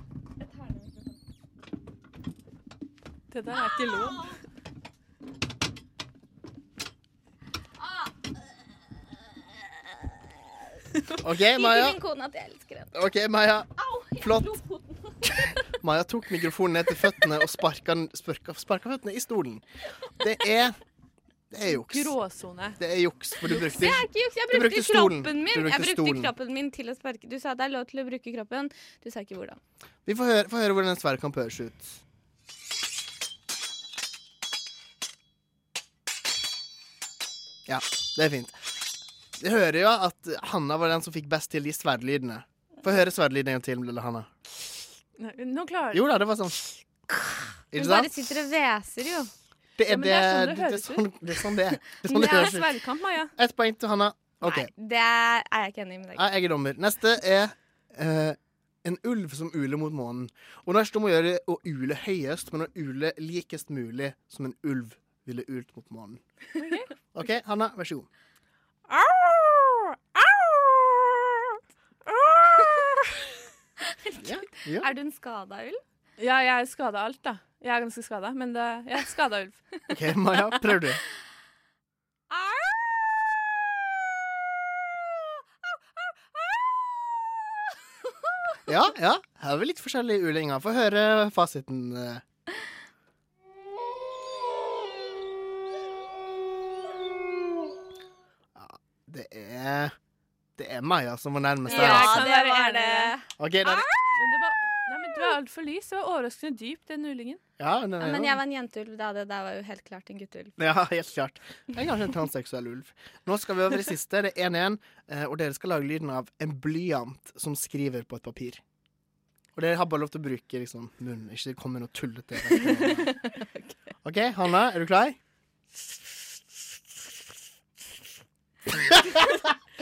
Det der er ikke lov.
OK, Maja.
Ikke min kone at jeg elsker henne.
Ok, Maja.
Au! jeg
Flott.
slo foten.
Maja tok mikrofonen ned til føttene og sparka, den- sparka, sparka føttene i stolen. Det er Det er juks.
Gråsone.
Det er juks, for du brukte
Det er ikke juks. Jeg
du
brukte,
brukte stolen.
kroppen min.
Du brukte
jeg brukte
stolen.
kroppen min til å sparke. Du sa det er lov til å bruke kroppen. Du sa ikke hvordan.
Vi får høre, får høre hvordan en sverg kan pøres ut. Ja, det er fint. Vi hører jo at Hanna var den som fikk best til de sverdlydene. Få høre sverdlyden en gang til, lille Hanna.
Nei, Nå klarer
Jo da, det var sånn.
Hun
Ikke
bare
sant?
sitter og hveser, jo.
Det
Ja,
er,
men
det,
sånn
det, er
høres
sånn,
ut.
det er sånn det er. Det er sånn
Men
det
det er
høres ut.
sverdkamp, Maja.
Ett poeng til Hanna. OK.
Det er er jeg ikke enig med deg.
Nei, jeg er dommer. Neste er eh, en ulv som uler mot månen. Og det er om å gjøre å ule høyest, men å ule likest mulig som en ulv ville ult mot månen. OK, Hanna, vær så god. ja.
Er du en skada ulv?
Ja, jeg er skada alt, da. Jeg er ganske skada, men det, jeg er skada ulv.
OK, Maja, prøv du. Ja, ja. Her er vi litt forskjellige ulinger. Få høre fasiten. eh. Ja, det er Det er Maja som var nærmest der.
Ja,
altså.
det var det.
OK, da
Ah!
er
Men
det
det var, nei, men det var altfor lys. Det var overraskende dypt, den ulingen.
Ja, den
Ja,
er-
men jeg var en jenteulv da. Det der var jo helt klart en gutteulv.
Ja, helt klart. Det er kanskje en transseksuell ulv. Nå skal vi over i siste. Det er 1-1, eh, og dere skal lage lyden av en blyant som skriver på et papir. Og dere har bare lov til å bruke liksom, munnen, ikke kom med noe tullete. OK, Hanna, er du klar?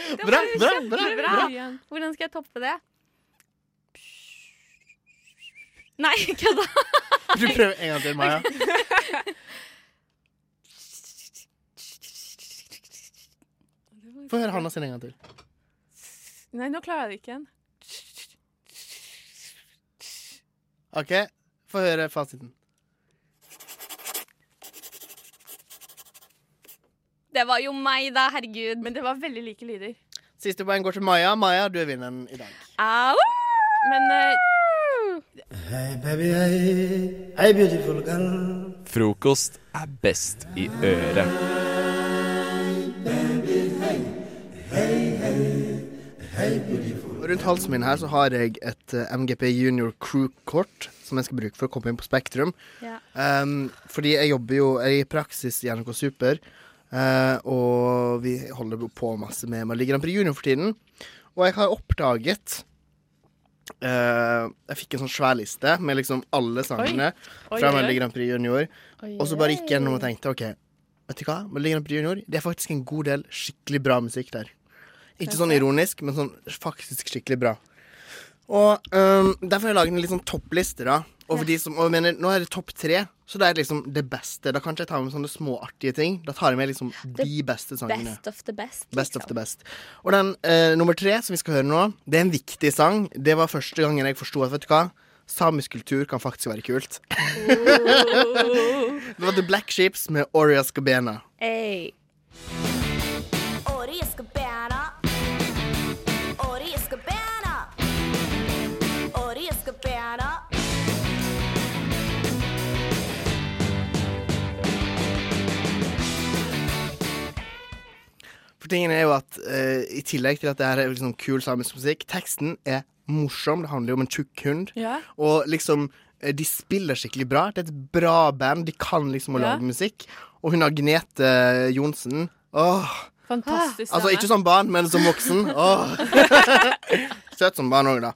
Det var
Bra,
jo
bra,
kjempebra.
bra, bra.
Hvordan skal jeg toppe det? Nei, kødda!
Du prøver en gang til, Maja. Få høre Hanna sin en gang til.
Nei, nå klarer jeg det ikke igjen.
OK, få høre fasiten.
Det var jo meg, da. Herregud.
Men det var veldig like lyder.
Siste poeng går til Maja. Maja, du er vinneren i dag.
Au!
Men
Hey baby, hey, hey beautiful girl.
Frokost er best i øret.
Og Rundt halsen min her så har jeg et eh, MGP Junior Crew-kort som jeg skal bruke for å komme inn på Spektrum.
Ja.
Ehm, fordi jeg jobber jo jeg er i praksis i NRK Super, eh, og vi holder på masse med Melodi Grand Prix Junior for tiden. Og jeg har oppdaget eh, Jeg fikk en sånn svær liste med liksom alle sangene
Oi,
fra
oi,
Melodi
oi.
Grand Prix Junior.
Oi,
Og så bare gikk jeg
oi.
gjennom og tenkte OK, vet du hva? Melodi Grand Prix Junior, det er faktisk en god del skikkelig bra musikk der. Ikke sånn ironisk, men sånn faktisk skikkelig bra. Og øhm, derfor har jeg laget en litt sånn toppliste, da. Over de som, og jeg mener, nå er det topp tre, så det er liksom det beste. Da kan ikke jeg ta med sånne småartige ting. Da tar jeg med liksom de beste sangene.
Best of the best.
Best of the best. Og den eh, nummer tre som vi skal høre nå, det er en viktig sang. Det var første gangen jeg forsto at vet du hva, samisk kultur kan faktisk være kult. det var The Black Ships med Oria Skabena.
Hey.
Ori Escobana. Ori Escobana. Ori Escobana.
For tingen er jo at eh, i tillegg til at det her er liksom kul samisk musikk, teksten er morsom. Det handler jo om en tjukk hund.
Ja.
Og liksom eh, de spiller skikkelig bra. Det er et bra band. De kan liksom å
Ja.
lage musikk. Og hun Agnete eh, Johnsen Åh.
fantastisk.
Altså
stemme.
ikke som barn, men som voksen. Åh. Søt som barn òg, da.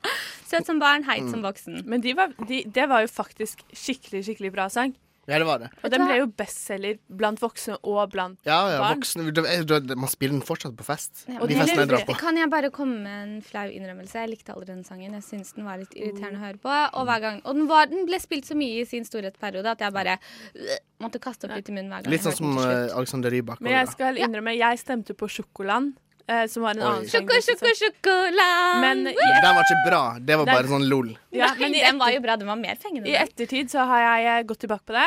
Søt som barn, heit
Mm.
som voksen.
Men de var, de, det var jo faktisk skikkelig, skikkelig bra sang.
Ja, det var det.
Og den ble jo bestselger blant voksne og blant
Ja, ja,
barn.
voksne du- du- Man spiller den fortsatt på fest.
Ja,
De
men-
festene jeg drar på.
Kan jeg bare komme med en flau innrømmelse? Jeg likte aldri den sangen. Jeg syns den var litt irriterende å høre på. Og, hver gang, og den, var, den ble spilt så mye i sin storhetsperiode at jeg bare øh, måtte kaste opp litt i munnen hver gang.
Litt sånn
jeg
som
hørte den til
eh, Alexander Rybak.
Men
også,
jeg
da.
skal innrømme, jeg stemte på Sjokoland, eh, som var en
Oi.
annen sang. liksom.
Sjoko, sjoko, sjokoland!
Men
Den var ikke bra. Det var
Den-
bare sånn lol.
Ja,
Nei,
men i
den var jo bra. Den var mer fengende.
i ettertid så har jeg eh, gått tilbake på det,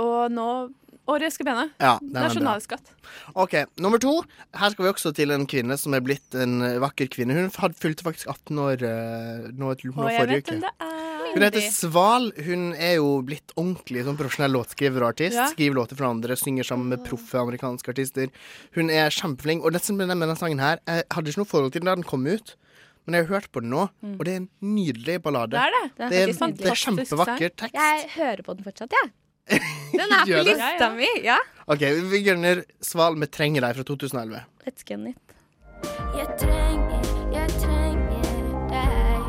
og nå Året skal bene.
Ja, den er bra.
Nasjonalskatt.
Ok, Nummer to. Her skal vi også til en kvinne som er blitt en eh, vakker kvinne. Hun had- fylte faktisk 18 år eh, nå, nå
Og jeg
forrige
vet
uke.
hvem det er.
Hun heter Sval. Hun er jo blitt ordentlig sånn profesjonell låtskriver og artist.
Ja.
Skriver låter for andre, synger sammen med proffe amerikanske artister. Hun er kjempeflink. Og det som ble nevnt med denne sangen her Jeg hadde ikke noe forhold til den da den kom ut, men jeg har hørt på den nå, og det er en nydelig ballade.
Det er det. Den er
Det er,
faktisk nydelig.
det er kjempevakker tekst.
Jeg hører på den fortsatt, jeg. Den er på
Gjør det?
lista mi. Ja.
OK, vi gunner Sval med 'Trenger deg' fra 2011.
Let's get it.
Jeg trenger, jeg trenger deg.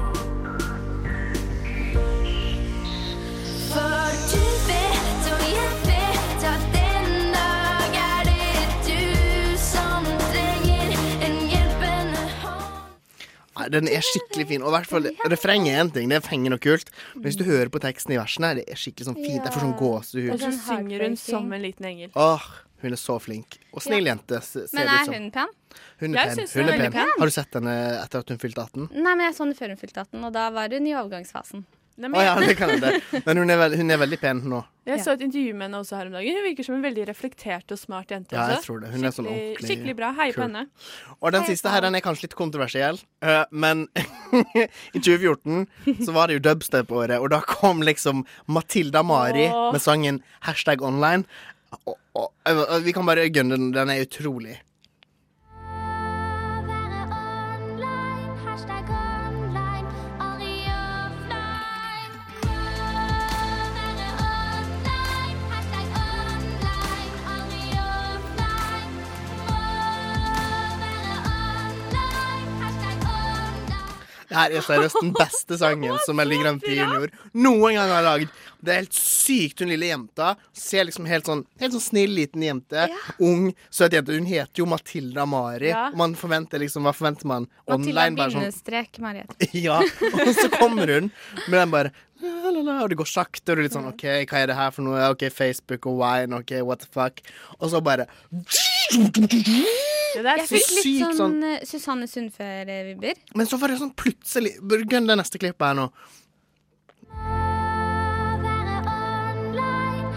For du vet, og jeg vet, at den dag er det du som trenger en hjelpende hånd.
Nei, den er skikkelig fin. Og i hvert fall, refrenget er én ting, det er fengende og kult. Men hvis du hører på teksten i versene, det er skikkelig sånn fint. Det er for sånn gåsehud.
Og så synger hun som en liten engel.
Åh, hun er så flink. Og snill
Ja.
jente, se- ser sånn.
Men
det ut
er
som.
hun pen?
Hun
Jeg
er pen.
synes hun
Hun
er
er
veldig
pen.
pen.
Har du sett henne etter at hun fylte 18?
Nei, men jeg så den før hun fylte 18, og da var hun i overgangsfasen.
Nei,
Å
men
ja,
jeg-
det kan hende. Men hun er, veld, hun er veldig pen nå.
Jeg så et intervju med henne også her om dagen. Hun virker som en veldig reflektert og smart jente.
Ja,
Altså,
jeg
også.
tror det. Hun er sånn
Eh,
skikkelig,
ordentlig
skikkelig bra. Hei på
kul.
henne.
Og den siste her den er kanskje litt kontroversiell, eh, men i 2014 så var det jo dubstep-året, og da kom liksom Matilda Mari
Åh.
med sangen 'Hashtag online'. Og, og, og vi kan bare gønne den. Den er utrolig.
Hashtag online, aldri offline.
Det her er seriøst den beste sangen som Melodi Grand Prix Junior noen gang har lagd. Det er helt sykt, hun lille jenta. Ser liksom helt sånn, helt sånn snill liten jente. Ung, søt jente. Hun heter jo Matilda Mari.
Ja.
Og Man forventer liksom, Hva forventer man?
Matilda
Online, bare sånn
bindestrek Mariette.
Ja. Og så kommer hun med den bare la, la, la, Og det går sakte, og du er litt sånn OK, hva er det her for noe? OK, Facebook og wine, OK, what the fuck? Og så bare
Det
Jeg fikk litt
sykt
sånn,
sånn-
eh, Susanne Sundfør-vibber.
Men så var det sånn plutselig Bare Gønn det neste klippet her nå.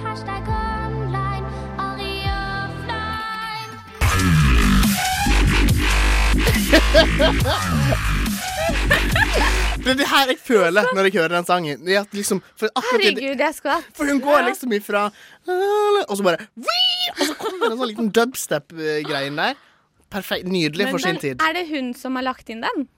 Hashtag online, aldri offline.
Det er det her jeg føler når jeg hører den sangen. Det er at liksom, for, akkurat i det-
Herregud, jeg skvatt.
for hun går liksom ifra Og så bare Og så kommer den sånn liten dubstep-greien der. Perfekt, Nydelig for sin tid.
er det hun som har lagt inn den?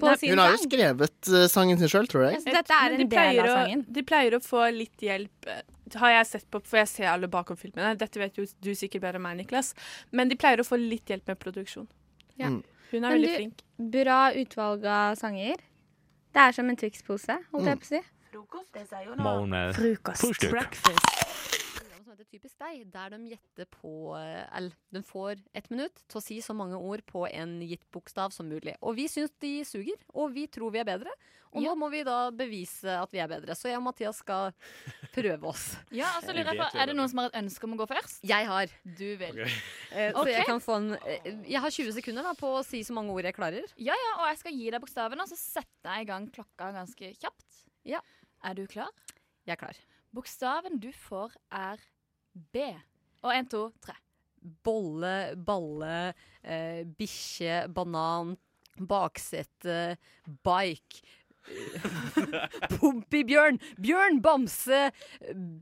På
Nei,
sin
Hun har jo
sang?
skrevet eh, sangen sin sjøl, tror jeg.
Så dette er
Men
en del av
pleier å-
sangen.
De pleier å få litt hjelp, eh, har jeg sett på, for jeg ser alle bakom filmene. Dette vet jo du sikkert bedre enn meg, Niklas. Men de pleier å få litt hjelp med produksjon.
Ja. Mm.
Hun er
Men
veldig
du,
flink.
Bra utvalg av sanger. Det er som en Twix-pose, holdt
Mm.
jeg på å si.
Morgen.
Frokost.
Frühstück.
program som heter Typisk deg, der de gjetter på eh, Eller de får ett minutt til å si så mange ord på en gitt bokstav som mulig. Og vi syns de suger, og vi tror vi er bedre. Og nå må vi da bevise at vi er bedre. Så jeg og Mathias skal prøve oss.
Ja, altså lurer jeg på, Er det noen som har et ønske om å gå først?
Jeg har.
Du vil.
Eh, Så
Ok.
jeg kan få en eh, Jeg har 20 sekunder da på å si så mange ord jeg klarer.
Ja, ja, og jeg skal gi deg bokstavene, og så setter jeg i gang klokka ganske kjapt. Er du klar?
Jeg er klar.
Bokstaven du får, er B. Og én, to, tre.
Bolle, balle, eh, bikkje, banan, baksete, bike. Pompibjørn, bjørn, bamse,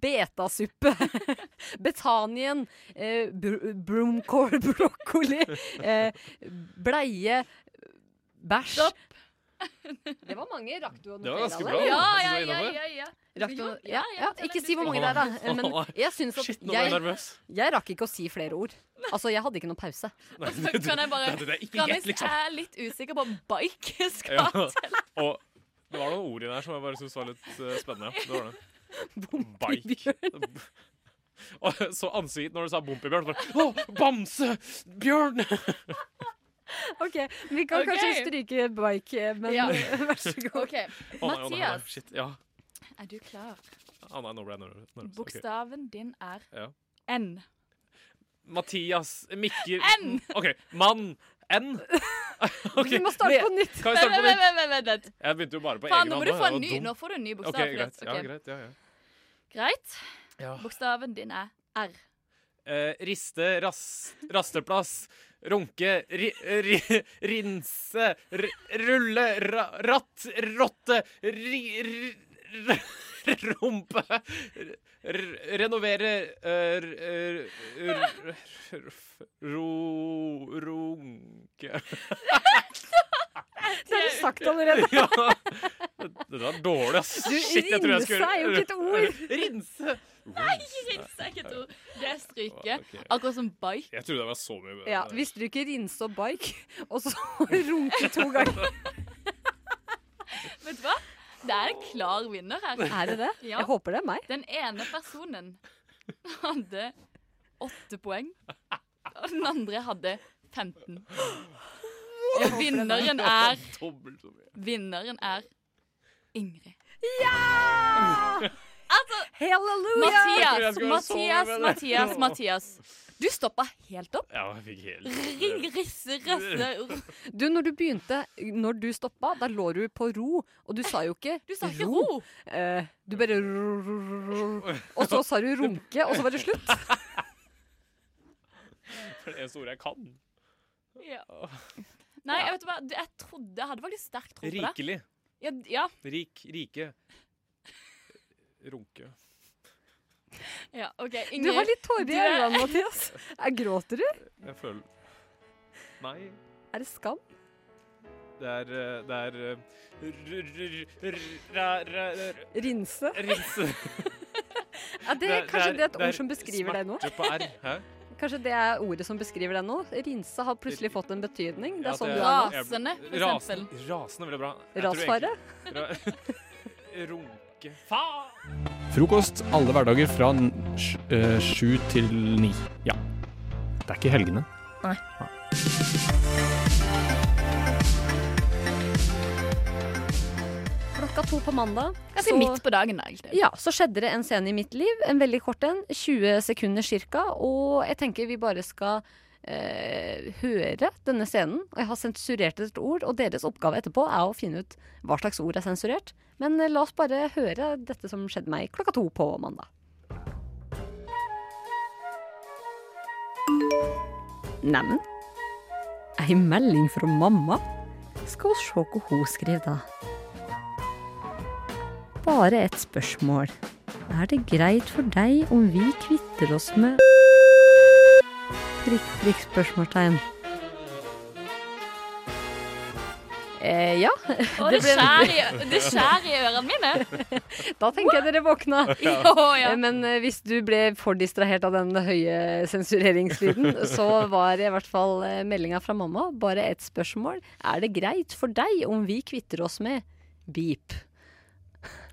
betasuppe, Betanien, eh, br brumkål, brokkoli, eh, bleie, bæsj. Det var mange. Rakk du å
Det var
notere
ganske
alle?
bra, da. Ja, ja, ja, ja, ja.
Rakk du å-
Jo,
ja,
ja,
ja.
jeg
Ikke si hvor mange det er, da. eh, Men jeg syns at
Shit, nå ble jeg
jeg,
nervøs.
jeg rakk ikke å si flere ord. Altså, jeg hadde ikke noen pause.
Og så kan jeg bare
det- det er ikke
Ramis
greit, liksom.
er litt usikker på om bike skal
Ja.
telle.
Og det var noen ord i der som jeg bare syntes var litt eh, spennende. Det var det. Bike. Og så ansiktet når du sa Bompibjørn. Å, bamse! Bjørn!
OK, vi kan
Ok.
kanskje stryke bike, eh, men
Ja.
vær så god.
Ok.
Å, nei, å, nei, å, nei.
Mathias,
Shit, ja.
er du klar?
Å, nei, nå ble jeg nervøs. nervøs. Ok.
Bokstaven din er
Ja.
N.
Mathias, Mikkel
N.
OK. Mann. N. Ok,
Vi må starte
men-
på nytt.
Kan vi starte på
Vent,
nytt?
vent, vent, vent, vent.
Jeg begynte jo bare på
Faen,
egen
nå må
hånd,
du
jeg
få en
var
ny-
dum.
nå får du en ny bokstav,
Ok,
for
greit.
det-
Ja,
ok.
greit. Ja, ja.
Greit.
Ja.
Bokstaven din er R.
Eh, riste, ras, rasteplass, runke, ri, ri, rinse, r, rulle, ra, ratt, rotte, ri, ri, r- rumpe r- Renovere eh, r- r- r- r- Ro... Runke
Det har du sagt allerede.
Ja. Det var dårlig, ass.
Du,
Shit, jeg tror jeg skulle
rinse er jo ikke et ord.
Rinse.
Nei, ikke rinse er ikke et ord.
Det stryker.
Ok.
Akkurat som bike.
Jeg trodde det var så mye bedre.
Ja, hvis du ikke rinser og bike, og så runke to ganger
Vet du hva? Det er en klar vinner her.
Er det det? Jeg håper det er meg.
Den ene personen hadde åtte poeng, og den andre hadde 15. Og vinneren er
Dobbelt så mye.
Vinneren er Ingrid. Altså,
Halleluja!
Mathias, Mathias, Mathias, Mathias. Du stoppa helt opp.
Ja, jeg fikk helt
Ring, risse, risse.
Du, når du begynte, når du stoppa, da lå du på ro, og du sa jo ikke Du sa ikke ro! Eh, du bare ro- ro- ro- ro- Og så sa du runke, og så var det slutt.
For det eneste ordet jeg kan.
Ja. Nei, jeg vet hva, jeg trodde Jeg hadde faktisk sterk tro på det.
Rikelig.
Ja, ja,
Rik. Rike. Runke.
ja, OK. Ingrid.
Du har litt tårer
du
i
er-
øynene, Mathias. Eh, Gråter du?
Jeg føler Nei.
Er det skam?
Det er eh, Det er eh, r- r- r- ra- ra- ra-
Rinse?
Rinse.
Ja, det, kanskje det er et ord som beskriver deg nå?
Smerte på R. Hæ?
Kanskje det er ordet som beskriver deg nå? Rinse har plutselig fått en betydning. Det
Ja,
er sånn
det
du
er-
er nå.
jeg- rasen- Rasende er veldig bra. Jeg tror
Rasfare?
egentlig- Ra runke Faen!
Frokost alle hverdager fra n- sj- eh, sju til ni. Ja. Det er ikke helgene.
Nei.
Klokka to på mandag.
Ganske
så-
midt på dagen, da, egentlig.
Ja, så skjedde det en scene i mitt liv. En veldig kort en. 20 sekunder cirka. Og jeg tenker vi bare skal eh, høre denne scenen. Og jeg har sensurert et ord, og deres oppgave etterpå er å finne ut hva slags ord er sensurert. Men eh, la oss bare høre dette som skjedde meg klokka to på mandag. Neimen, ei melding fra mamma. Skal vi se hva hun skriver, da. Bare et spørsmål. Er det greit for deg om vi kvitter oss med Prikk, prikk, spørsmålstegn. Eh, ja.
Å, det skjærer i- det skjærer i ørene mine.
Da tenker jeg dere våkna.
Ja.
Eh, Men eh, hvis du ble for distrahert av den høye sensureringslyden, så var i hvert fall eh, meldinga fra mamma bare et spørsmål. Er det greit for deg om vi kvitter oss med beep?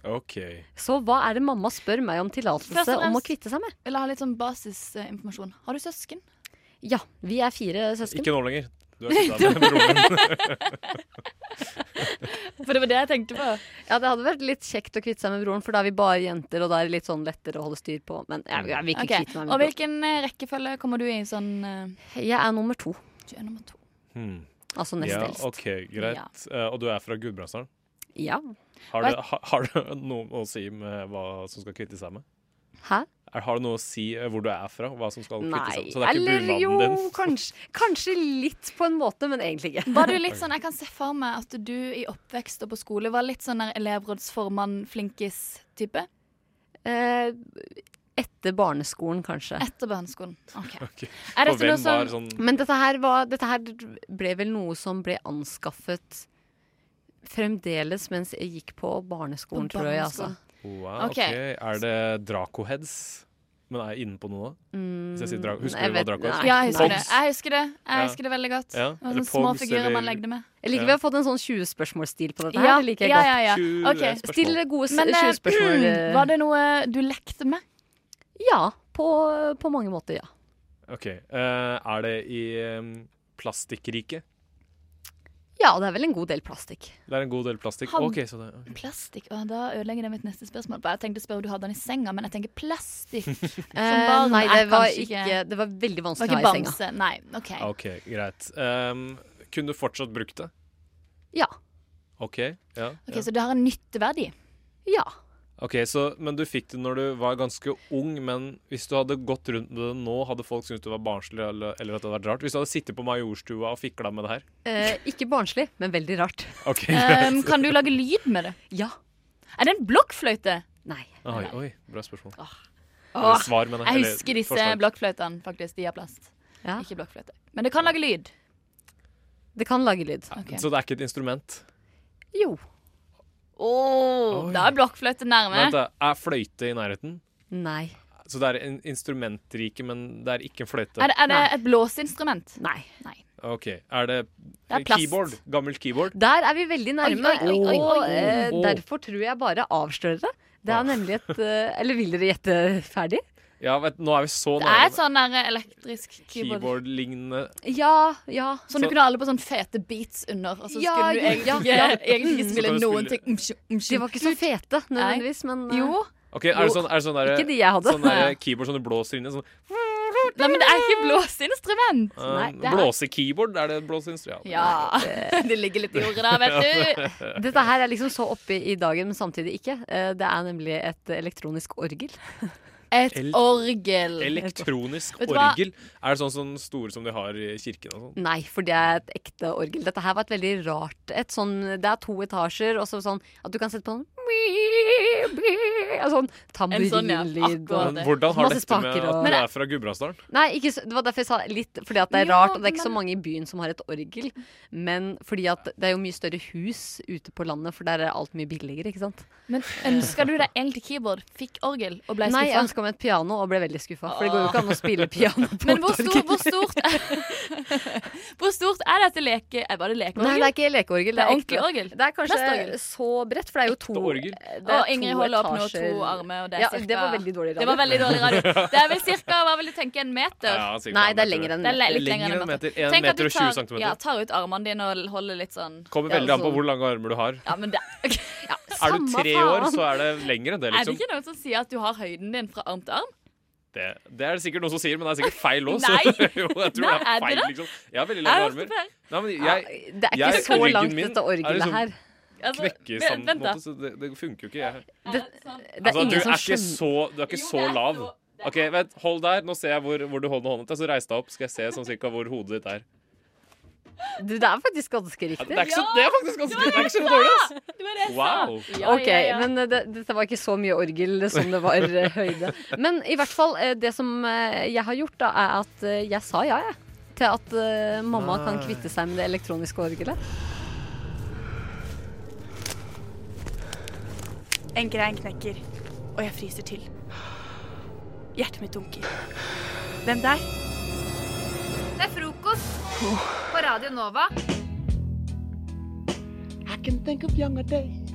OK.
Så hva er det mamma spør meg om
Først
tillatelse
og
om å
fremst-
kvitte seg med?
Vil jeg ha litt sånn basisinformasjon. Har du søsken?
Ja, vi er fire søsken.
Ikke nå lenger. Du er slutta med broren.
For det var det jeg tenkte på.
Ja, det hadde vært litt kjekt å kvitte seg med broren, for da er vi bare jenter, og da er det litt sånn lettere å holde styr på. Men jeg, jeg vil ikke
Ok,
kvitte meg
Og
med broren.
hvilken eh, rekkefølge kommer du i sånn eh,
Jeg er nummer to.
Du er nummer to.
Hmm.
Altså nest
ja,
eldst.
OK, greit. Eh, og du er fra Gudbrandsdalen?
Ja.
Har
Hva-
det, ha, har det noe å si med hva som skal kvitte seg med?
Hæ?
Er, har det noe å si eh, hvor du er fra? Hva som skal kvitte seg
Nei,
med? Så det er ikke
eller jo,
bunaden din?
kanskje, kanskje litt på en måte, men egentlig ikke.
Var du litt sånn, Jeg kan se for meg at du i oppvekst og på skole var litt sånn der elevrådsformann, flinkis-type.
Eh, etter barneskolen, kanskje.
Etter barneskolen. OK.
Er dette Og hvem noe som- var sånn-
Men dette her, var, dette her ble vel noe som ble anskaffet fremdeles mens jeg gikk på barneskolen,
På
tror jeg. altså.
Wow,
Ok.
ok. Er det Dracoheads? Men er jeg inne på noe da? Hvis jeg sier dra husker
Mm,
du
jeg
hva
vet-
Dracoheads
nei. Ja,
Jeg husker det.
Pogs.
Jeg husker det Jeg
Ja.
husker det veldig godt.
Ja,
Det var
eller
sånne små
Pogs,
figurer man
eller-
legde med.
Jeg liker vi har fått en sånn 20-spørsmålsstil på dette
Ja,
her. Det liker jeg
ja,
godt.
ja, ja.
eh,
Ok, 20 spørsmål.
Still gode
Men, eh,
20 spørsmål. eh.
var det noe du lekte med?
Ja, på, på mange måter, ja.
Ok, eh, Er det i um, plastikkriket?
Ja, det er vel en god del plastikk.
Det er en god del plastikk.
Hadde-
Ok, så det ok.
Plastikk? Å, da ødelegger det mitt neste spørsmål. Jeg tenkte å spørre om du hadde den i senga, men jeg tenker plastikk. Som
Eh,
barn
nei, det
er
var
kanskje
ikke- det var veldig vanskelig
Det var
å ha i
ikke
senga.
bamse. Nei, OK.
Ok, greit. Um, kunne du fortsatt brukt det?
Ja.
OK. ja.
Ok,
ja.
Så det har en nytteverdi?
Ja.
Ok, så, Men du fikk det når du var ganske ung, men hvis du hadde gått rundt med det nå, hadde folk syntes du var barnslig eller, eller at det hadde vært rart? Hvis du hadde sittet på Majorstua og fikla med det her?
Eh, ikke barnslig, men veldig rart.
Ok,
Um,
greit.
kan du lage lyd med det?
Ja.
Er det en blokkfløyte? Nei.
Oi, oi, bra spørsmål.
Åh,
Eller svar, mener
jeg
Eller
husker disse
forslag.
blokkfløytene, faktisk. De har plast. Ikke blokkfløyte. Men det kan lage lyd.
Det kan lage lyd.
Så det er ikke et instrument?
Jo. Å, da er blokkfløyte nærme.
Vent, da. Er fløyte i nærheten?
Nei.
Så det er en instrumentrike, men det er ikke en fløyte?
Er, det- er det et blåseinstrument?
Nei.
OK. Er det,
er plast.
keyboard? Gammelt keyboard?
Der er vi veldig nærme,
Oi, oi, oi,
og
oi.
eh,
Åh.
derfor tror jeg bare avslører det. Det er nemlig et eh, Eller vil dere gjette ferdig?
Ja, vet, nå er vi så
Det er et
nærme.
sånn der elektrisk keyboard.
Keyboard-lignende
Ja, ja. Sånn du
Så-
kunne ha alle på sånn fete beats under, og så
Ja,
skulle du
ja,
egentlig,
ja.
egentlig ikke
Mm.
Så
spille
kan du
noen
spille-
ting. Umsj, umsj.
De var ikke så fete nødvendigvis, men eh,
Jo.
Ok, er det sånn, er det sånn der,
Ikke de jeg hadde.
Sånn der keyboard som du blåser inn i? Sånn,
Nei, men det er ikke blåseinstrument.
eh, blåsekeyboard? Er det et blåseinstrument?
Ja. Det ligger litt i ordet der, vet du.
Dette her er liksom så oppe i dagen, men samtidig ikke. Eh, Det er nemlig et elektronisk orgel.
Et
El-
orgel.
Elektronisk
Vet du hva?
orgel? Er det sånn, sånn store som de har i kirken? og
Mm,
sånn?
Nei, for det er et ekte orgel. Dette her var et veldig rart et sånn, Det er to etasjer, og så sånn at du kan sette på sånn og Sånn
En sånn, ja,
tamburinlyd
akkurat
og
det.
Hvordan har
masse
dette med
spaker
at
og-
du er fra Gudbrandsdalen?
Nei, ikke, så- det var derfor jeg sa litt fordi at det er
Ja,
rart. Og det er ikke så
men-
mange i byen som har et orgel. Men fordi at det er jo mye større hus ute på landet, for der er alt mye billigere, ikke sant.
Men ønska du deg egentlig keyboard, fikk orgel og ble
Nei, jeg
skuffa?
ønska meg et piano og ble veldig skuffa. For det går jo ikke an å spille piano på
Men
et
hvor, stor, hvor stort Hvor stort er dette leke... Er bare lekeorgel?
Nei, det er ikke lekeorgel.
Det er
ekte-
ordentlig orgel.
Det er kanskje
Plastorgel.
så bredt, for det er jo to det er
Og Ingrid
to
holder opp nå
etasjer.
to armer, og det er
ja,
cirka
Det var veldig dårlig radio.
Det var veldig dårlig radio. Det er vel cirka, hva vil du tenke, en meter?
Ja, cirka Nei, en det er meter. lenger enn en
Det er
meter.
litt lenger enn en meter.
En
Tenk
meter
at du
og 20
tar-
centimeter.
Ja, tar ut armene dine og holder litt sånn
Kommer veldig an på hvor lange armer du har.
Ja, men det
Er du tre år, så er det lenger enn det,
Er det
liksom.
ikke noen som sier at du har høyden din fra arm til arm?
Det, det er det sikkert noen som sier, men det er sikkert feil òg.
Nei.
jo, jeg tror
Nei,
det
er
er
det
feil,
det?
liksom. Jeg har veldig
Jeg
lange
har hørt
armer.
det her.
Nei, men jeg,
Ja, det er ikke
jeg-
så
ryggen
langt,
min
dette orgelet
er liksom
her.
Altså,
Knekker
vent-
sammen, på
vent
en
da.
sånn
sånn.
måte, så det, det funker jo ikke. Jeg.
Det, det er
Altså, du
ingen
er
som
ikke
skjønner
så, du er ikke så lav. OK, vent, hold der. Nå ser jeg hvor, hvor du holder hånda til. Så reis deg opp, skal jeg se sånn cirka hvor hodet ditt er.
Du, Det er faktisk ganske riktig.
det er ikke så- det er faktisk ganske- det er ikke så dårlig, ass. Wow!
Ok, men eh, det, dette var ikke så mye orgel som det var eh, høyde. Men i hvert fall, eh, det som eh, jeg har gjort, da, er at eh, jeg sa ja, jeg. Til at eh, mamma kan
Nei.
kvitte seg med det elektroniske orgelet.
En grein knekker, og jeg fryser til. Hjertet mitt dunker. Hvem der?
Det er frokost på Radio Nova.
I can think of younger days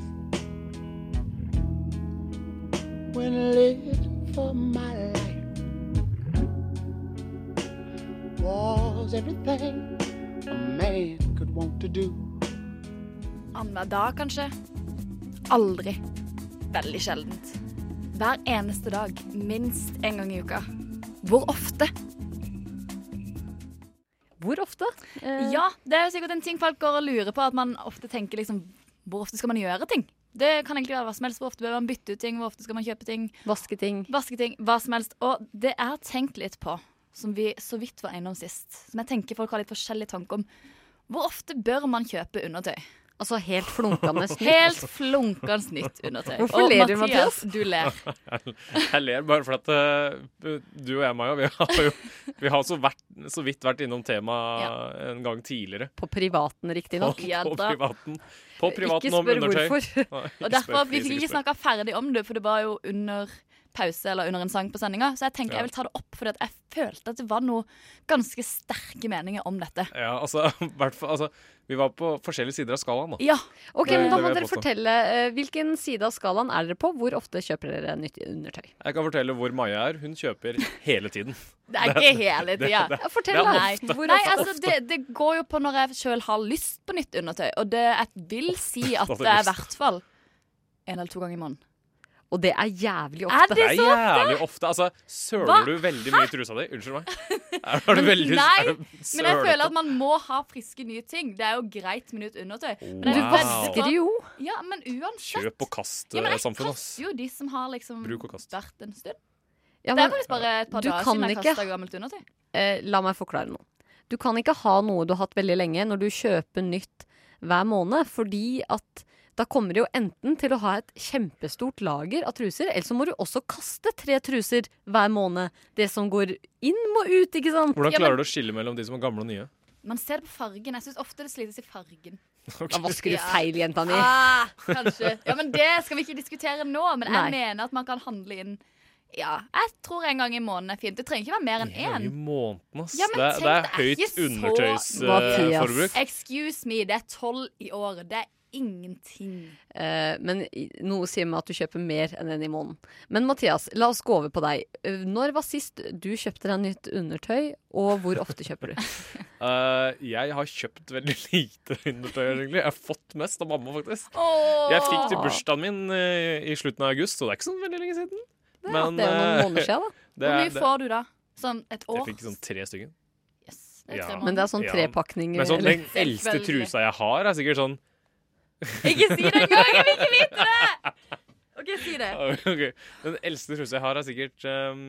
when I lived for my life. Was everything a man could want to do.
Annenhver dag, kanskje. Aldri. Veldig sjeldent. Hver eneste dag. Minst en gang i uka. Hvor ofte?
Hvor ofte? Eh,
Ja, det er jo sikkert en ting folk går og lurer på. At man ofte tenker liksom Hvor ofte skal man gjøre ting? Det kan egentlig være hva som helst. Hvor ofte bør man bytte ut ting? Hvor ofte skal man kjøpe ting?
Vaske ting.
Vaske ting, Hva som helst. Og det jeg har tenkt litt på, som vi så vidt var innom sist, som jeg tenker folk har litt forskjellig tanke om. Hvor ofte bør man kjøpe undertøy?
Altså helt flunkende nytt.
Helt flunkende nytt undertøy.
Hvorfor
Og
ler du, Mathias?
Du ler.
Jeg ler bare fordi at eh, du og jeg, Maja, vi har jo vi har så, vært, så vidt vært innom temaet en gang tidligere.
På privaten, riktignok.
På, på privaten. På privaten
Ikke
om
spør
undertøy.
hvorfor.
Nei,
Og
ikke spør,
derfor, Vi
please,
fikk ikke
spør.
snakka ferdig om det, for det var jo under pause eller under en sang på sendinga. Så jeg tenkte
Ja.
jeg vil ta det opp, for jeg følte at det var noe ganske sterke meninger om dette.
Ja, altså, i hvert fall, altså, vi var på forskjellige sider av skalaen, da.
Ja.
Ok,
Det-
men Da
det
må
vil jeg
dere
påstå.
fortelle eh, hvilken side av skalaen er dere på. Hvor ofte kjøper dere nytt undertøy?
Jeg kan fortelle hvor Maja er. Hun kjøper hele tiden.
Det er ikke hele tida.
det-
Fortell,
det er
da.
ofte.
Hvor
Nei,
ofte?
altså, det, det går jo på når jeg sjøl har lyst på nytt undertøy. Og det, jeg vil si at
har du
det er i
lyst.
hvert fall en eller to ganger i måneden.
Og det er jævlig
Er
ofte.
det så
er jævlig ofte. Altså,
Hva?
søler du veldig mye i trusa di? Unnskyld meg. Er, er du veldig
Nei,
er du
men jeg føler
sølete?
at man må ha friske, nye ting. Det er jo greit med nytt undertøy. Men jeg
Du
føler-
vasker det
jo.
Ja, men uansett.
Kjøp og
Ja, men jeg
kast-samfunn, ass.
kaster jo de som har liksom
Bruk og kast.
vært en stund.
Ja,
det
men
er faktisk bare et par
du
dager
kan
siden jeg
ikke-
kasta gammelt undertøy.
Eh, la meg forklare noe. Du kan ikke ha noe du har hatt veldig lenge når du kjøper nytt hver måned, fordi at Da kommer de jo enten til å ha et kjempestort lager av truser, eller så må du også kaste tre truser hver måned. Det som går inn, må ut, ikke sant?
Hvordan klarer du å skille mellom de som er gamle og nye?
Man ser det på fargen. Jeg syns ofte det slites i fargen.
Da vasker du feil, jenta mi.
Ah, kanskje. Ja, men Det skal vi ikke diskutere nå, men jeg mener at man kan handle inn ja, jeg tror en gang i måneden er fint. Det trenger ikke være mer enn
En gang
én.
i måneden, ass.
Ja, men
det,
tenk,
det er
det er ikke
høyt
så-
undertøysforbruk.
Excuse me, det er tolv i året. Det er ingenting.
Eh, men i- noe sier meg at du kjøper mer enn en i måneden. Men Mathias, la oss gå over på deg. Eh, Når var sist du kjøpte deg nytt undertøy, og hvor ofte kjøper du?
Eh, jeg har kjøpt veldig lite undertøy, egentlig. Jeg har fått mest av mamma, faktisk.
Åh.
Jeg fikk til bursdagen min eh, i slutten av august, så det er ikke sånn veldig lenge siden. Men,
det er jo noen
eh,
måneder siden,
det
Hvor
er-
mye
det-
får du da? Sånn et år?
Jeg fikk sånn tre stykker.
det er tre måneder.
Men det er sånn trepakning,
Men sånn,
eller?
den eldste
Selvfølgelig.
trusa jeg har, er sikkert sånn
Ikke si det engang! Jeg vil ikke vite det! OK, si det.
Ok, Den eldste trusa jeg har, er sikkert ehm,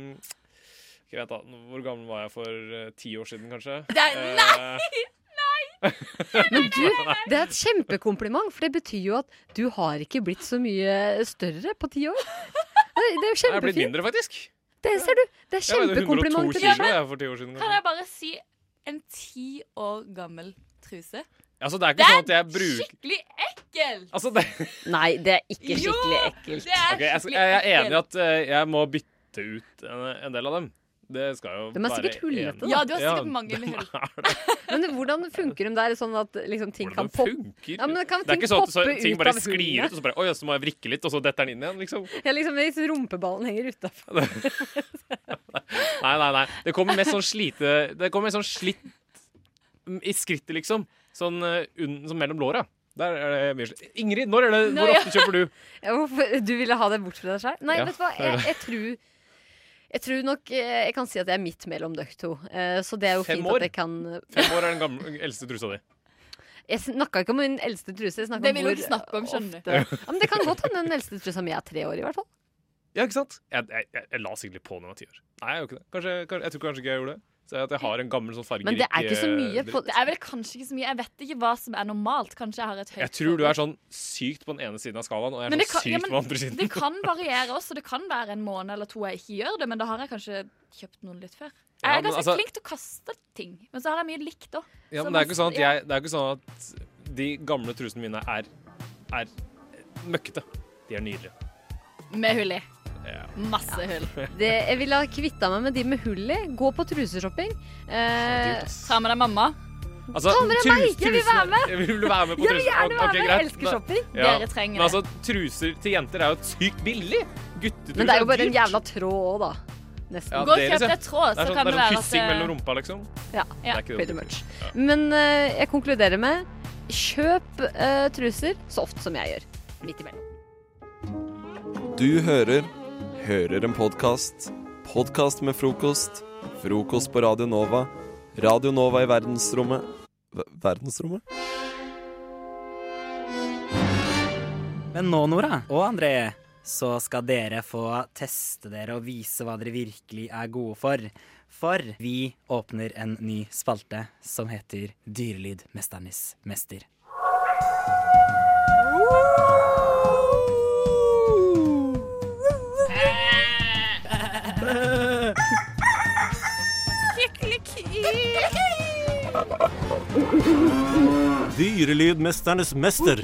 Greit, da. Hvor gammel var jeg for eh, ti år siden, kanskje? Eh,
Det er-
nei!
Men du, det er et kjempekompliment, for det betyr jo at du har ikke blitt så mye større på ti år. Det det er jo
Jeg er blitt
kjempefint.
mindre, faktisk.
Det ser du. Det er
Jeg veide 102
kjempekompliment til
kilo
deg.
jeg, for ti år siden.
Kan jeg bare si en ti år gammel truse?
Altså, det er ikke sånn at jeg bruker
skikkelig ekkelt!
altså, det...
Nei, det er ikke
Jo,
skikkelig ekkelt.
det er
Ok, jeg, skal-
skikkelig
jeg er enig i
ekkelt.
at eh, jeg må bytte ut en, en del av dem. Det skal jo
De er
være
sikkert hullete,
en-
da. Ja,
du har sikkert mange
de
med hull.
er
Men hvordan funker de der, sånn at liksom, ting kan poppe
funker.
Ja, men kan
det er
ting
ikke sånn at så,
poppe
ting
ut
bare
av
sklir
hullene?
ut, og så bare Oi, så må jeg vrikke litt, og så detter den inn igjen, liksom.
Ja, liksom hvis rumpeballen henger utafor.
Nei, nei, nei. Det kommer mest sånn slite Det kommer mest sånn slitt mm, i skrittet, liksom. Sånn, eh, unn- sånn mellom låra. Der er det mye slitt. Ingrid, når er det,
Nå,
hvor
ja.
ofte kjøper du?
Ja, hvorfor- du ville ha det bort fra deg selv? Nei,
Ja,
vet du hva,
det er
jeg,
det.
jeg tror jeg tror nok eh, Jeg kan si at jeg er midt mellom dere to. Eh, Så det er jo
Fem
fint
år?
at jeg kan eh,
Fem år er den gamle, eldste trusa di.
Jeg snakka ikke om min eldste truse. Jeg snakket
Det
om
vil du
hvor
ikke snakke om, skjønner
ofte- Ja, men det kan godt hende den eldste trusa mi er tre år, i hvert fall.
Ja, ikke sant? Jeg, jeg, jeg, jeg la sikkert litt på når jeg var ti år. Nei, jeg gjorde ikke det. Kanskje, kanskje, jeg tror kanskje ikke jeg gjorde det. Så at jeg har en gammel sånn fargerik
Men det er ikke så mye
eh, dritt.
Det er vel kanskje ikke så mye. Jeg vet ikke hva som er normalt. Kanskje jeg har et høyt
Jeg tror du er sånn sykt på den ene siden av skalaen, og jeg er
Men det
sånn
kan,
sykt
ja,
på den
men,
andre siden.
det kan variere også. Det kan være en måned eller to jeg ikke gjør det, men da har jeg kanskje kjøpt noen litt før.
Ja,
Jeg er
men
ganske
altså-
flink til å kaste ting, men så har jeg mye likt òg.
Ja, men det er ikke sånn at jeg Det er ikke sånn at de gamle trusene mine er, er møkkete. De er nydelige.
Med hull i.
Ja.
Mm.
Masse hull.
Det, jeg ville ha kvitta meg med de med hull i. Gå på truseshopping. Eh,
Ta med deg mamma.
Altså,
Ta med deg meg!
trus-
Jeg vil være med!
trusene- Vil du være med på
Jeg vil
truser? Ok,
gjerne være med, jeg
greit.
elsker shopping.
Dere trenger
Men altså, truser til jenter er jo sykt billig. Guttetruser
men det er jo bare en
dyrt.
jævla tråd òg, da. Nesten.
Ja,
Gå og
dere
kjøp
ser-
deg tråd, så
sånn- Det
kan det
er
være
sånn
at
kyssing
det-
mellom rumpa, liksom.
Ja,
Det er ikke det
pretty
du
much. Men eh, jeg konkluderer med kjøp eh, truser så ofte som jeg gjør. Midt imellom.
Du hører Hører en podkast. Podkast med frokost. Frokost på Radio Nova. Radio Nova i verdensrommet Ver- Verdensrommet?
Men nå, Nora og André, så skal dere få teste dere og vise hva dere virkelig er gode for. For vi åpner en ny spalte som heter Dyrelyd mesternes mester.
Dyrelydmesternes mester.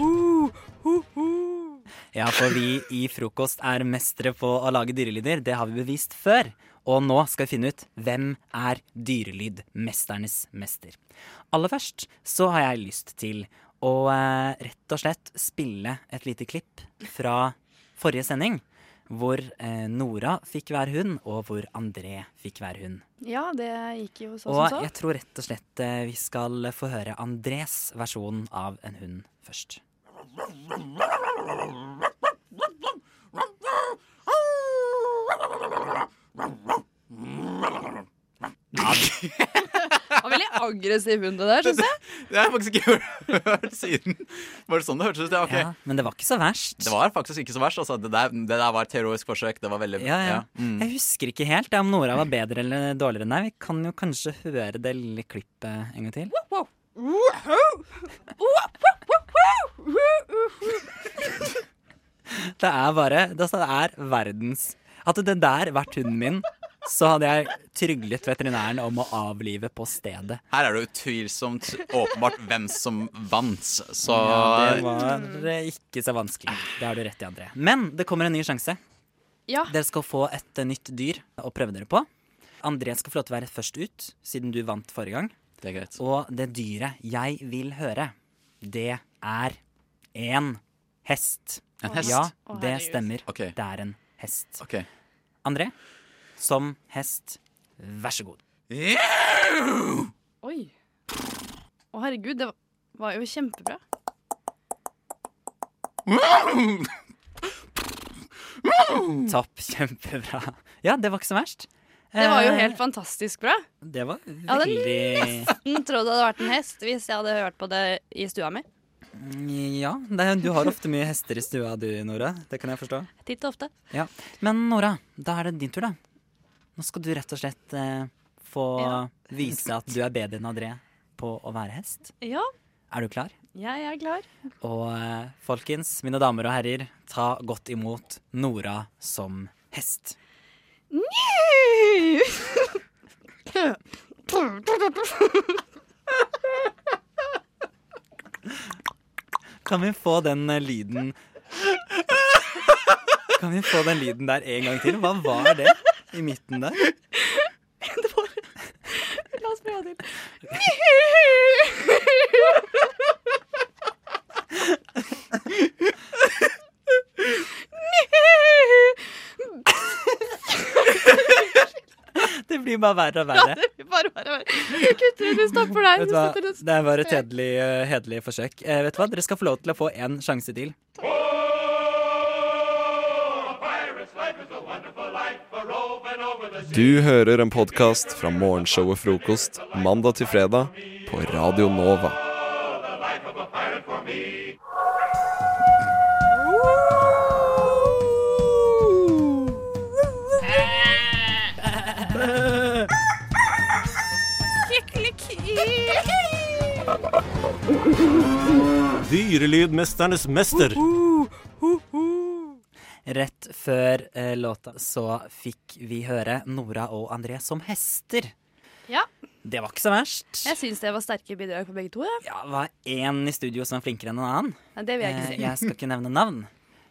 Ja, for vi i Frokost er mestere på å lage dyrelyder. Det har vi bevist før. Og nå skal vi finne ut hvem er dyrelydmesternes mester. Aller først så har jeg lyst til å eh, rett og slett spille et lite klipp fra forrige sending. Hvor eh, Nora fikk hver hund, og hvor André fikk hver hund.
Ja, det gikk
Sånn,
jo så
Og
som
jeg
så.
tror rett og slett eh, vi skal få høre Andrés versjon av en hund først.
Og veldig aggressiv hund det der, syns jeg.
Det har jeg faktisk ikke hørt- hørt siden. Var det sånn det hørtes ut? Ja, ok.
Ja, men det var ikke så verst.
Det var faktisk ikke så verst. Altså. Det, der, det der var et heroisk forsøk. Det var veldig
Ja, ja.
Mm.
Jeg husker ikke helt ja, om Nora var bedre eller dårligere enn deg. Vi kan jo kanskje høre det lille klippet en gang til. Det er bare Det altså, det er verdens Hadde det der vært hunden min, så hadde jeg tryglet veterinæren om å avlive på stedet.
Her er det utvilsomt åpenbart hvem som vant, så
Ja, det var eh, ikke så vanskelig. Det har du rett i, André.
Ah.
Men det kommer en ny sjanse.
Ja.
Dere skal få et eh, nytt dyr å prøve dere på. André skal få lov til å være først ut, siden du vant forrige gang.
Det er greit.
Og det dyret jeg vil høre, det er en hest.
En hest?
Ja,
Å,
det
herregud.
stemmer. Det er en hest. André, som hest, vær så god.
Oi. Å, herregud, det var jo kjempebra.
Topp. Kjempebra. Ja, det var ikke så verst.
Det var jo
Eh,
helt fantastisk bra.
Det var
Jeg hadde
veldig
nesten trodd det hadde vært en hest hvis jeg hadde hørt på det i stua mi.
Mm, Ja, det, er- du har ofte mye hester i stua du, Nora. Det kan jeg forstå.
Titt og ofte.
Ja. Men Nora, da er det din tur, da. Nå skal du rett og slett eh, få vise at du er bedre enn André på å være hest.
Ja,
Er du klar?
jeg er klar.
Og eh, folkens, mine damer og herrer, ta godt imot Nora som hest. Kan vi få den eh, lyden Kan vi få den lyden der en gang til? Hva var det i midten der?
La oss prøve til.
Det blir bare verre og
Ja,
verre.
det blir bare, bare, bare. Du kutter ut, du stopper der.
Vet
Du
du hva?
setter ut.
Det var et hederlig, eh, hederlig forsøk. Eh, vet du hva? Dere skal få lov til å få en sjanse til.
Du hører en podkast fra morgenshowet Frokost mandag til fredag på Radio Nova.
Eh,
Dyrelydmesternes mester.
Rett før eh, låta så fikk vi høre Nora og André som hester.
Ja,
Det var ikke så verst.
jeg syns det var sterke bidrag på begge to. Ja.
Det var én i studio som var flinkere enn en annen.
Nei, det vil jeg ikke
Eh,
si.
Jeg skal ikke nevne navn.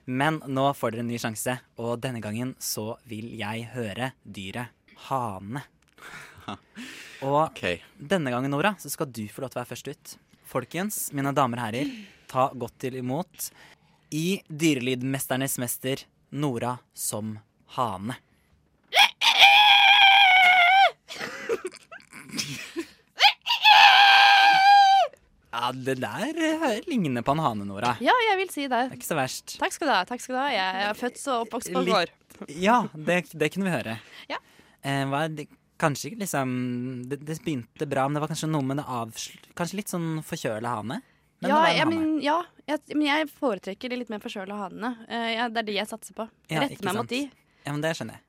Men nå får dere en ny sjanse, og denne gangen så vil jeg høre dyret hane. Og denne gangen, Nora, så skal du få lov til å være først ut. Folkens, mine damer og herrer, ta godt til imot i Dyrelydmesternes mester Nora som hane. Ja, det der eh, ligner på en hane, Nora.
Ja, jeg vil si det.
Det er ikke så verst.
Takk skal du ha. takk skal du ha. Jeg er født og oppvokst på
Litt-
gård.
Ja, det, det kunne vi høre.
Ja.
Eh, hva er det, kanskje ikke liksom det, det begynte bra, men det var kanskje noe med det avsl... Kanskje litt sånn forkjøla hane?
ja,
Men det var en
jeg,
hane.
men, ja jeg, men jeg foretrekker de litt mer forkjøla hanene. Eh, ja, det er de jeg satser på.
Ja,
Rette
ikke
meg
sant.
mot de.
Ja, men det skjønner jeg.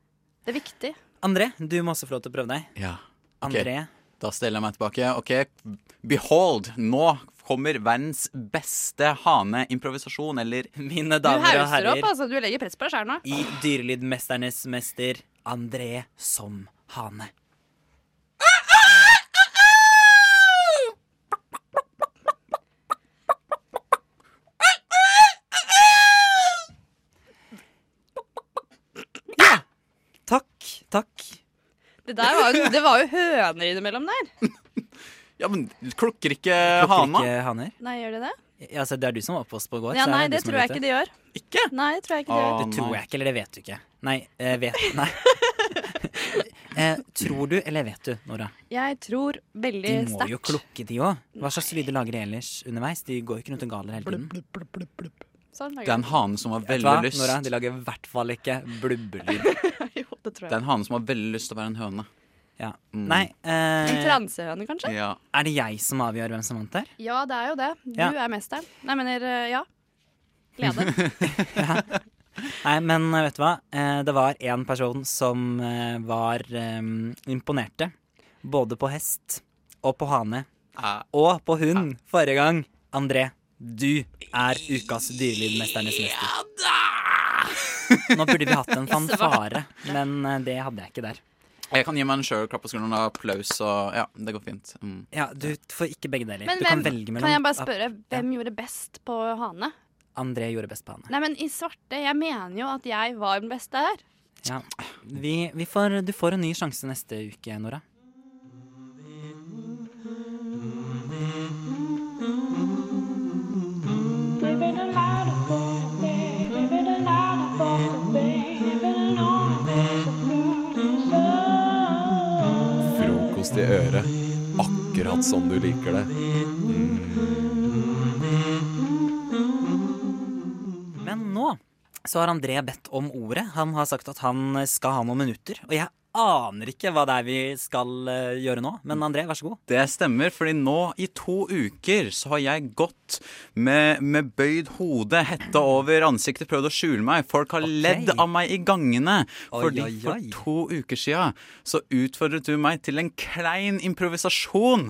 Det er viktig.
André, du må også få lov til å prøve deg.
Ja.
André.
Da steller jeg meg tilbake. OK, behold, nå kommer verdens beste haneimprovisasjon, eller
Mine
Du
damer og
hauser
herrer,
opp, altså. Du legger press på deg sjæl nå.
i Dyrelydmesternes mester André som hane. Ja! Takk, takk.
Det, der var, jo- det var jo høner innimellom der.
Ja, men klukker ikke
Plukker
hana?
ikke haner?
Nei, gjør de det?
Ja, altså, det er du som var oppvokst på gård.
Ja,
så er
nei,
du
det
som
tror jeg
vet
ikke de gjør.
Ikke?
Nei, det tror jeg ikke de gjør.
Det tror jeg ikke, eller det vet du ikke. Nei, eh, vet Nei. eh, tror du, eller vet du, Nora?
Jeg tror
De
veldig
må jo
sterkt.
klukke, de òg. Hva slags lyder lager de ellers underveis? De går jo ikke rundt og galer hele tiden.
Sånn,
Det er en hane som har
Vet du
veldig
hva,
lyst
Nora, de lager i hvert fall ikke blubbelyd.
det tror
Det er
jeg.
en hane som har veldig lyst til å være en høne.
Ja. Nei, eh,
En transehøne, kanskje?
Mm. Ja.
er det jeg som avgjør hvem som vant der?
Ja, det er jo det. Du
Ja.
er mesteren. Nei, jeg mener eh, ja. Glede.
Nei, men eh, vet du hva? Eh, det var én person som ehm, eh, var eh, imponerte. Både på hest og på hane. Og på hund forrige gang. André, du er ukas dyrelydmesternes mester. Nå burde vi hatt en fanfare, men eh, det hadde jeg ikke der.
Jeg kan gi meg en sjølklapp på skulderen og applaus, og ja, det går fint. Mm.
Ja, Du får ikke begge deler.
Men
du
hvem,
kan velge mellom.
kan jeg bare
at
spørre, hvem gjorde best på hane?
André gjorde best på henne.
Nei, men i svarte, jeg mener jo at jeg var den beste her.
Ja. Vi, vi får, du får en ny sjanse neste uke, Nora.
Frokost i øret, akkurat som du liker det.
Mm.
Men nå så har André bedt om ordet. Han har sagt at han skal ha noen minutter. Og jeg aner ikke hva det er vi skal eh, gjøre nå. Men André, vær så god.
Det stemmer, fordi nå i to uker så har jeg gått med, med bøyd hode, hetta over ansiktet, prøvd å skjule meg. Folk har ledd av meg i gangene.
Oi,
Fordi
oi,
for
oi.
to uker sia så utfordret du meg til en klein improvisasjon,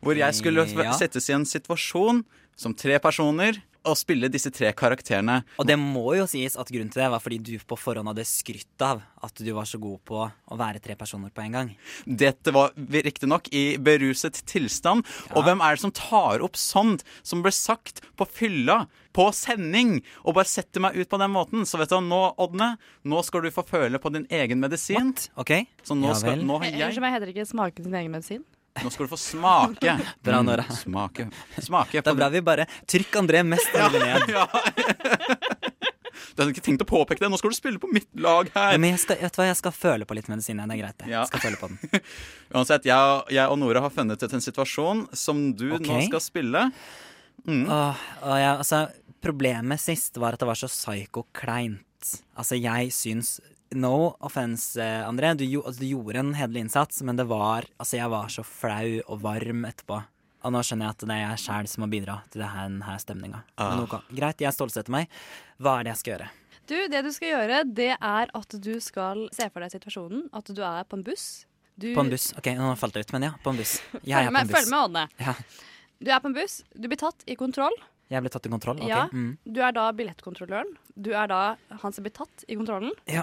hvor jeg skulle
Ja.
settes i en situasjon som tre personer og spille disse tre karakterene.
Og det må jo sies at grunnen til det var fordi du på forhånd hadde skrytt av at du var så god på å være tre personer på en gang.
Dette var riktignok i beruset tilstand. Og hvem er det som tar opp sånt som ble sagt på fylla, på sending, og bare setter meg ut på den måten? Så vet du, hva, nå, Ådne, nå skal du få føle på din egen medisin.
Ok?
Så nå,
Ja
skal,
vel.
nå har jeg
Unnskyld meg, heter det ikke smake sin egen medisin?
Nå skal du få smake.
Bra,
Mm,
Nora.
Smake. smake
Det er bra vi bare Trykk André mest mulig ned.
Du hadde ikke tenkt å påpeke det. Nå skal du spille på mitt lag her.
Ja, men jeg skal, vet du hva, jeg skal føle på litt medisin. ja, Det er greit, det.
Ja.
Jeg skal føle på den.
Uansett, jeg, jeg og Nora har funnet ut en situasjon som du nå
Ok.
skal spille. Mm.
Åh, og jeg, altså, problemet sist var at det var så psyko-kleint. Altså, jeg syns No offense, eh, André. Du, gjo- altså, du gjorde en hederlig innsats, men det var Altså, jeg var så flau og varm etterpå. Og nå skjønner jeg at det er jeg sjæl som må bidra til denne stemninga.
Ah.
Greit, jeg stålsetter meg. Hva er det jeg skal gjøre?
Du, det du skal gjøre, det er at du skal se for deg situasjonen. At du er på en buss. Du,
På en buss. Ok, nå falt det ut, men ja. På en buss. Jeg
Følg
er på
med,
en buss.
følg med, Ådne.
Ja,
Du er på en buss, du blir tatt i kontroll.
jeg ble tatt i kontroll. Ok.
Ja,
Mm.
Du er da billettkontrolløren. Du er da han som blir tatt i kontrollen.
Ja.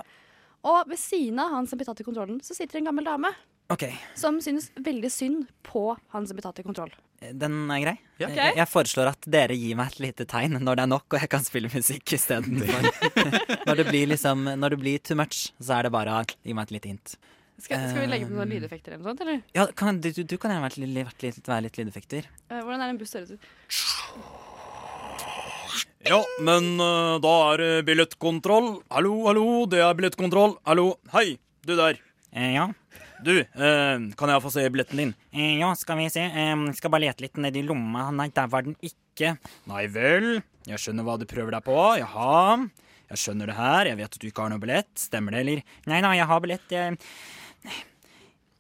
Og ved siden av han som blir tatt i kontrollen, så sitter en gammel dame
OK.
som synes veldig synd på han som blir tatt i kontroll.
Den er grei.
Ja.
Eh,
Ok.
Jeg, foreslår at dere gir meg et lite tegn når det er nok, og jeg kan spille musikk istedenfor. når det blir liksom Når det blir too much, så er det bare å gi meg et lite hint.
Skal, skal vi legge på noen
Eh,
lydeffekter eller noe sånt, eller?
Ja, kan, du, du, du kan gjerne vært litt- vært litt- være litt lydeffekter.
Eh, Hvordan er en buss størrelse?
Ja, men eh, da er det billettkontroll. Hallo, hallo, det er billettkontroll. Hallo, hei, du der.
ja.
Du, eh, kan jeg få se billetten din?
Eh, ja, skal vi se. Eh, skal bare lete litt nedi lomma. Nei, der var den ikke.
Nei vel, jeg skjønner hva du prøver deg på. Jaha, jeg skjønner det her. Jeg vet at du ikke har noe billett. Stemmer det, eller?
Nei da, jeg har billett. Jeg,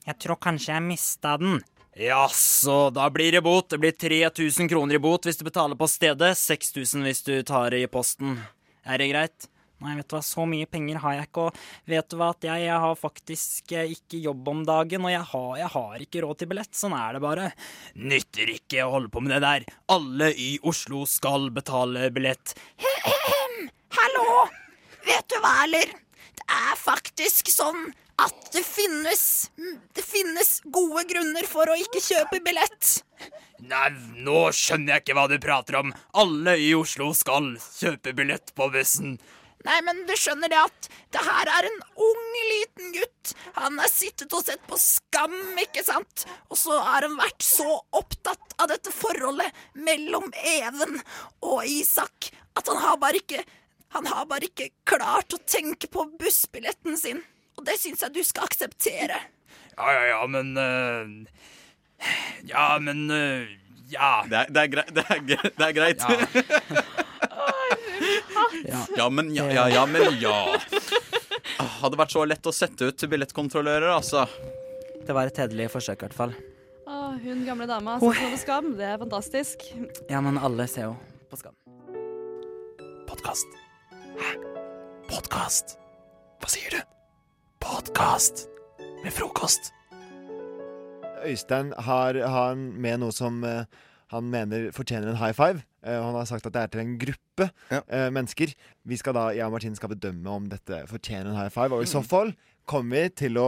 jeg tror kanskje jeg mista den.
Jaså, da blir det bot. Det blir 3000 kroner i bot hvis du betaler på stedet. 6000 hvis du tar i posten. Er det greit?
Nei, vet du hva, så mye penger har jeg ikke, og vet du hva, at jeg, jeg har faktisk eh, ikke jobb om dagen, og jeg har, jeg har ikke råd til billett, sånn er det bare.
Nytter ikke å holde på med det der. Alle i Oslo skal betale billett.
Hallo! Vet du hva, eller? Det er faktisk sånn at det finnes Det finnes gode grunner for å ikke kjøpe billett.
Nei, nå skjønner jeg ikke hva du prater om. Alle i Oslo skal kjøpe billett på bussen.
Nei, men du skjønner det at det her er en ung liten gutt. Han har sittet og sett på Skam, ikke sant? Og så har han vært så opptatt av dette forholdet mellom Even og Isak at han har bare ikke Han har bare ikke klart å tenke på bussbilletten sin. Og det syns jeg du skal akseptere.
Ja, ja, ja, men eh, Ja, men eh, Ja.
Det er, det er, grei, det er, gre- det er greit. Ja. ja. men ja, ja, ja, men ja. Ah, Hadde vært så lett å sette ut til billettkontrollører, altså.
Det var et hederlig forsøk, i hvert fall.
Å, hun gamle dama
Oi.
som står på skam, det er fantastisk.
Ja, men alle ser jo på Skam.
Podkast. Hæ? Podkast? Hva sier du? Podkast med frokost.
Øystein har, har han med noe som eh, han mener fortjener en high five. Eh, og han har sagt at det er til en gruppe eh, mennesker. Vi skal da, Jeg og Martin skal bedømme om dette fortjener en high five. Og i så
Mm.
fall kommer vi til å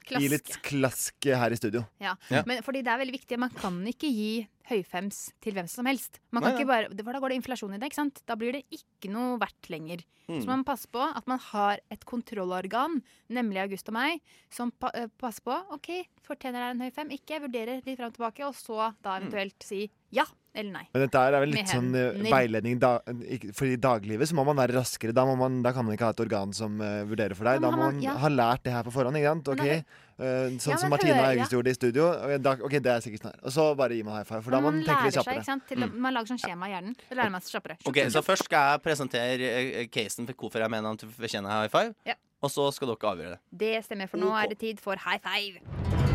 Klaske.
gi litt klask her i studio.
Ja.
Ja.
Men fordi det er veldig viktig, man kan ikke gi høyfems til hvem som helst. Man kan
Nei,
ikke bare, det- for Da går det inflasjon i det, ikke sant? Da blir det ikke noe verdt lenger.
Mm.
Så man må passe på at man har et kontrollorgan, nemlig August og meg, som pa øh, passer på OK, fortjener jeg en høy fem? Ikke. Vurderer litt fram og tilbake, og så da
Mm.
eventuelt si ja eller nei.
Men dette her er vel
Med
litt sånn eh,
hender.
veiledning da, ikke- For i daglivet så må man være raskere. Da, må man, da kan man ikke ha et organ som eh, vurderer for deg.
Ja, men
Da
har
må
man-
man
ja.
ha lært det her på forhånd. Ikke sant? Ok,
Men
eh, sånn
Ja,
som
men
Martine og
hører-
August
ja.
gjorde i studio. eh, Da, ok, det er sikkert sånn her. Og så bare gir man high five, for da
Men
må man tenke
lærer
litt
seg,
kjappere. Mm.
ikke sant? Til, Man lager sånn skjema i hjernen. Da lærer man seg kjappere.
Ok, Så først skal jeg presentere eh, casen for hvorfor jeg mener han fortjener high five.
Ja.
Og så skal dere avgjøre det.
Det stemmer, for nå er det tid for high five.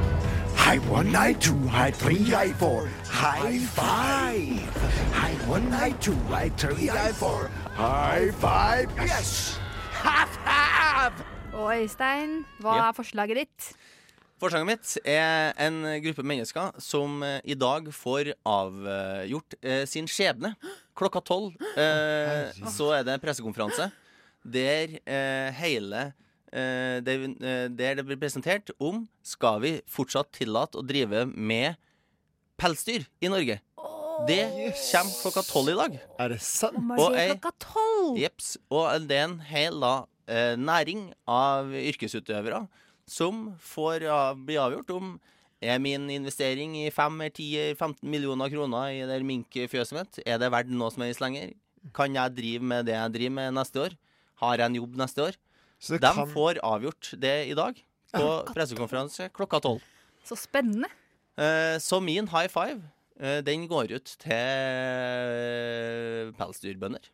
High one, high two, high three, high four, high five. High one, high two, high three, high four, high five. Yes! High five!
Og Øystein, hva
Ja.
er forslaget ditt?
Forslaget mitt er en gruppe mennesker som eh, i dag får avgjort eh, sin skjebne. Klokka tolv eh, så er det pressekonferanse der eh, hele eh, det, eh, Der det blir presentert om skal vi fortsatt tillate å drive med pelsdyr i Norge. Det kommer klokka tolv i dag.
Er det sant?
Om man sier klokka tolv!
Jeps. Og det er en hel da, eh, næring av yrkesutøvere som får av, bli avgjort om er min investering i 5, 10, 15 millioner kroner i det minkfjøset mitt, er det verdt noe som helst lenger? Kan jeg drive med det jeg driver med neste år? Har jeg en jobb neste år?
De
kan... får avgjort det i dag på pressekonferanse klokka tolv.
Så spennende.
Eh, Så min high five, eh, den går ut til eh, pelsdyrbønder.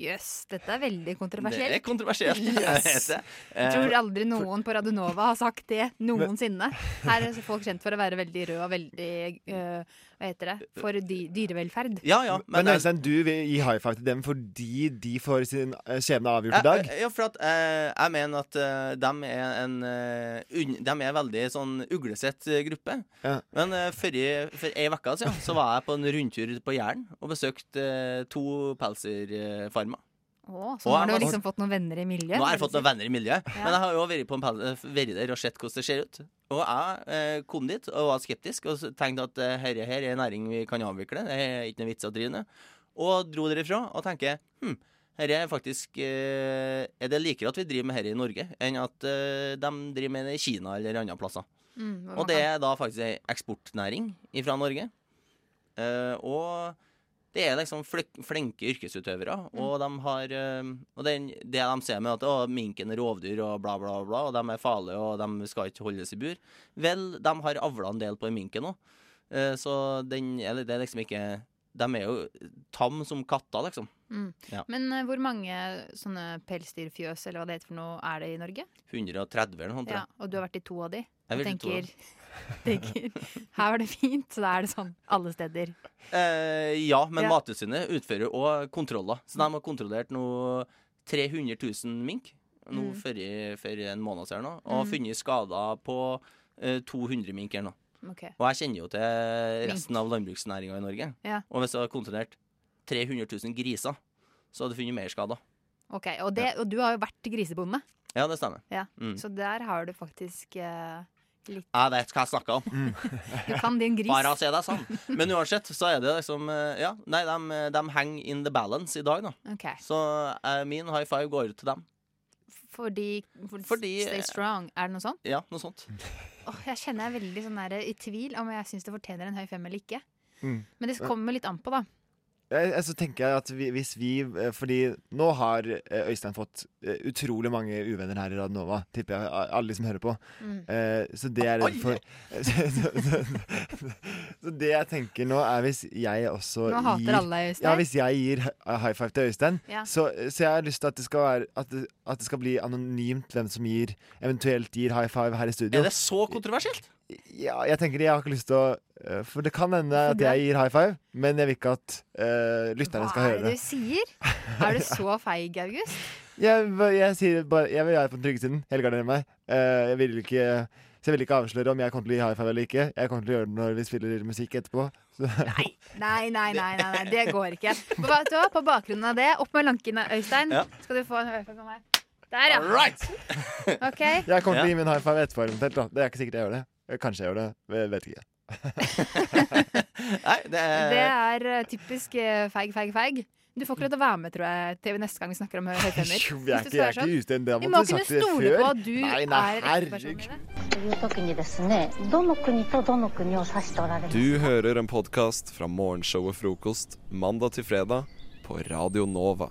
Jøs, dette er veldig
Det
kontroversielt.
er kontroversielt. jeg vet
Yes.
det.
Jeg tror
Eh,
aldri noen på Radionova har sagt det noensinne. Her er folk kjent for å være veldig røde og veldig øh, Hva heter det? For dy dyrevelferd.
Men, Øystein, du vil gi high five til dem fordi de får sin eh, skjebne avgjort i dag?
Ja, ja, for at eh, jeg mener at eh, dem er en eh, un, dem er veldig sånn uglesett eh, gruppe.
Ja.
Men eh, for, for ei uke siden så var jeg på en rundtur på Jæren og besøkte eh, to pelsdyrfarmer.
Å,
Og
så nå har
jeg
du
har-
liksom fått noen venner i miljøet?
Nå har jeg
vil du
fått
si.
noen venner i miljøet, men jeg har jo vært, på en pel- eh, vært der og sett hvordan det ser ut. Og jeg eh, kom dit og var skeptisk og så tenkte at eh, herre her er en næring vi kan avvikle. Det er ikke noe vits å drive med. Og dro derifra og tenker hm, herre er faktisk eh, Er det likere at vi driver med herre i Norge, enn at eh, de driver med det i Kina eller andre plasser?
Mm, hvor
Og
man
det
kan-
er da faktisk ei eksportnæring fra Norge. Eh, og det er liksom flik- flinke yrkesutøvere,
Mm.
og de har eh, Og det, det de ser med at å, minken er rovdyr og bla, bla, bla, og de er farlige og de skal ikke holdes i bur Vel, de har avla en del på minken òg, så den Eller det er liksom ikke De er jo tam som katter, liksom.
Mm.
Ja.
Men øh, hvor mange sånne pelsdyrfjøs eller hva det heter for noe, er det i Norge?
130 eller noe sånt. sånn, tror
Ja,
jeg.
og du har vært i to av de.
Jeg
Og
har vært i to av
tenker, tenker her var det fint, så da er det sånn alle steder.
Eh, ja, men
Ja. Mm.
Mattilsynet utfører òg kontroller. Så de har kontrollert nå 300 000 mink nå
Mm.
for, i- for en måned siden, nå, og
Mm.
funnet skader på eh, 200 mink her nå.
Ok.
Og jeg kjenner jo til resten av landbruksnæringa i Norge.
Ja.
Og hvis jeg hadde kontrollert 300 000 griser, så hadde jeg funnet mer skader.
Ok, og, det, og du har jo vært grisebonde.
Ja, det stemmer.
Ja.
Mm.
Så der har du faktisk eh, litt
Jeg vet hva jeg snakker om.
Du kan din gris.
Bare å se deg sånn. Men uansett, så er det liksom eh, Ja, nei, de, de henger in the balance i dag, da.
Ok.
Så eh, min high five går ut til dem.
Fordi, for,
Fordi- eh,
Stay strong. Er det noe sånt?
Ja, noe sånt.
Åh, jeg kjenner jeg er veldig sånn der, i tvil om jeg syns det fortjener en høy fem eller ikke.
Mm.
Men det kommer litt an på, da.
Jeg, jeg, så tenker jeg at vi, hvis vi eh, Fordi nå har eh, Øystein fått eh, utrolig mange uvenner her i Radionova, tipper jeg. a- Alle de som hører på.
Mm.
Eh, så det jeg er redd for så, så, så, så det jeg tenker nå, er hvis jeg også
Nå hater
gir
alle deg, Øystein.
Ja, hvis jeg gir hi- high five til Øystein,
Ja.
så, så jeg har lyst til at det skal være At det, at det skal bli anonymt hvem som gir eventuelt gir high five her i studio.
Er det så kontroversielt?
Ja, jeg tenker jeg har ikke lyst til å eh, For det kan hende at jeg gir high five, men jeg vil ikke at eh, lytterne skal
Hva er
høre
det
det.
du sier? Er du så feig, August?
Jeg, jeg sier bare Jeg vil være på den trygge siden. Helgarder meg. Eh, jeg vil ikke Så jeg vil ikke avsløre om jeg kommer til å gi high five eller ikke. Jeg kommer til å gjøre det når vi spiller musikk etterpå. Så. Nei.
Nei, nei, nei, nei, nei, det går ikke. På, vet du hva, på bakgrunn av det, opp med lankene, Øystein.
Ja.
Skal du få en high five av meg. Der, ja. OK.
Jeg kommer til å gi min high five etterpå, eventuelt. da. Det er ikke sikkert jeg gjør det. Eh, Kanskje jeg gjør det. Jeg vet ikke.
Nei, det er
Det er eh, typisk eh, feig, feig, feig. Du får ikke lov til å være med tror jeg, til neste gang vi snakker om hø- høytenner.
Jo, jeg er ikke- jeg
Hvis du
er
svarer sånn.
ikke ute. Det har
Vi
måtte
må
du
kunne
sagt det
stole
før.
på at du
Nei, nei,
er riktig person.
という時にですねどの国とどの国を指しておられますか
Du hører en podkast fra morgenshowet Frokost mandag til fredag på Radio Nova.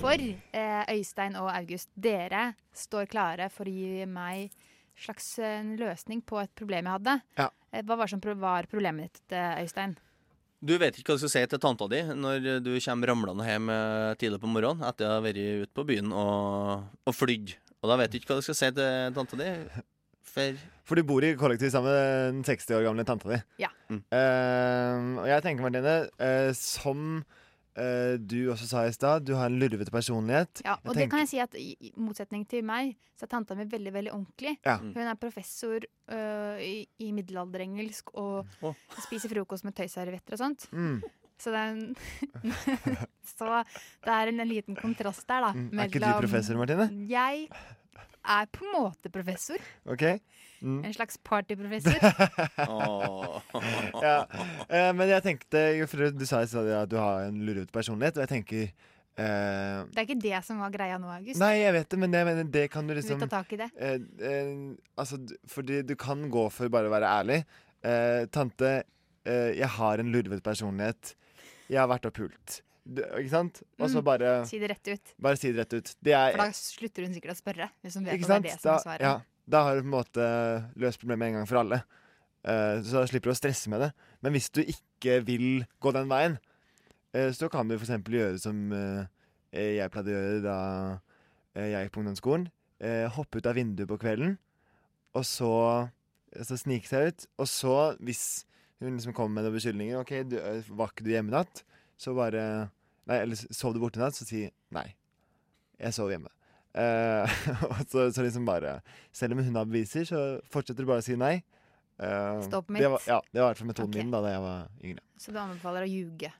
For eh, Øystein og August, dere står klare for å gi meg slags eh, en løsning på et problem jeg hadde.
Ja.
Eh, Hva var, som pro- var problemet ditt, eh, Øystein?
Du vet ikke hva du skal si til tanta di når du kommer ramlende hjem eh, tidlig på morgenen etter å ha vært ute på byen og, og flydd. Og da vet du ikke hva du skal si til tanta di. For
For du bor i kollektiv sammen med den 60 år gamle tanta di.
Ja.
Eh, og jeg tenker, Martine, eh, som eh, du også sa i stad, du har en lurvete personlighet.
Ja,
Jeg
og det kan jeg si at i i motsetning til meg, så er tanta mi veldig, veldig ordentlig.
Ja.
Hun er professor øh, i, i middelalderengelsk og spiser frokost med tøyservietter og sånt.
Mm.
Så, det er en så det er en, en liten kontrast der, da.
Mm, er ikke du professor, Martine?
Jeg er på en måte professor.
OK? Mm.
En slags partyprofessor.
ja. eh, men jeg tenkte, for du sa i stad at du har en lurvete personlighet, og jeg tenker eh,
Det er ikke det som var greia nå, August.
Nei, jeg vet det, men jeg mener, det kan du
Vi
liksom
tar tak i det.
Eh, eh, altså, d- fordi du kan gå for bare å være ærlig. Eh, tante, eh, jeg har en lurvet personlighet. Jeg har vært og pult. Du, ikke sant? Og så
Mm,
bare
Si det rett ut.
Bare si det rett ut. Det er
For da slutter hun sikkert å spørre. Hvis hun vet
Ikke
at
sant?
det er det som
Da,
er svaret.
ja, da har du på en måte løst problemet en gang for alle. Eh, så da slipper du å stresse med det. Men hvis du ikke vil gå den veien, eh, så kan du f.eks. gjøre som eh, jeg pleide å gjøre da eh, jeg gikk på ungdomsskolen. Eh, hoppe ut av vinduet på kvelden, og så, så snike seg ut. Og så, hvis hun liksom kommer med noen beskyldninger OK, du, eh, var ikke du hjemme i natt? Så bare Nei, eller sov du borte i natt? Så si nei. Jeg sov hjemme. Eh, og så, så liksom bare Selv om hun har beviser, så fortsetter du bare å si nei. Eh,
Stå på mitt.
Det var, ja, det var i hvert fall metoden min da da jeg var yngre.
Så du anbefaler å ljuge.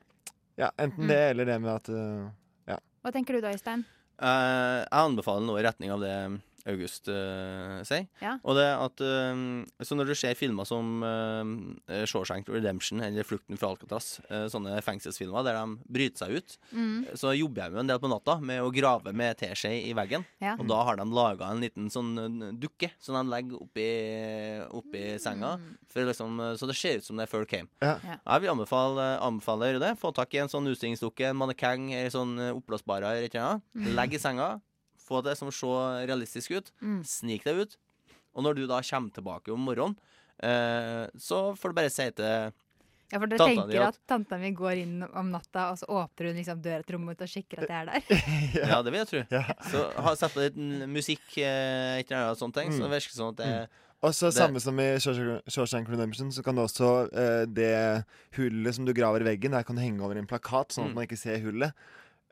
Ja,
Mm.
Enten det eller det med at eh, Ja.
Hva tenker du da, Øystein?
Eh, jeg anbefaler noe i retning av det August eh, sier.
Ja.
Og det at eh, Så når du ser filmer som eh, Shawshank Redemption eller Flukten fra Alcatraz, eh, sånne fengselsfilmer der de bryter seg ut,
Mm.
så jobber jeg jo en del på natta med å grave med teskje i veggen.
Ja.
Og da har de laga en liten sånn eh, dukke som de legger oppi,
Mm.
oppi senga, for liksom, eh, så det ser ut som det er før came.
Ja.
Jeg vil anbefale, anbefale å gjøre det. Få tak i en sånn utstillingsdukke, en mannekeng, en sånn eh, oppblåsbarer, eller et eller annet.
Mm.
Legg i senga. Få det som se realistisk ut.
Mm.
Snik deg ut. Og når du da kommer tilbake om morgenen, eh, så får du bare si til
Ja, for dere
Tanta di
tenker
at-
at tanta mi går inn om natta, og så åpner hun liksom døra til rommet mitt og sjekker at jeg er der.
ja. det vil jeg tro. Så ha, sett på litt mm, musikk, eh, et eller annet sånt, ting, så det virker sånn at det
Mm. Og så
det-
samme som i Shawshank Shawshank Redemption, så kan du også eh, det hullet som du graver i veggen, der kan du henge over en plakat, sånn at
Mm.
man ikke ser hullet.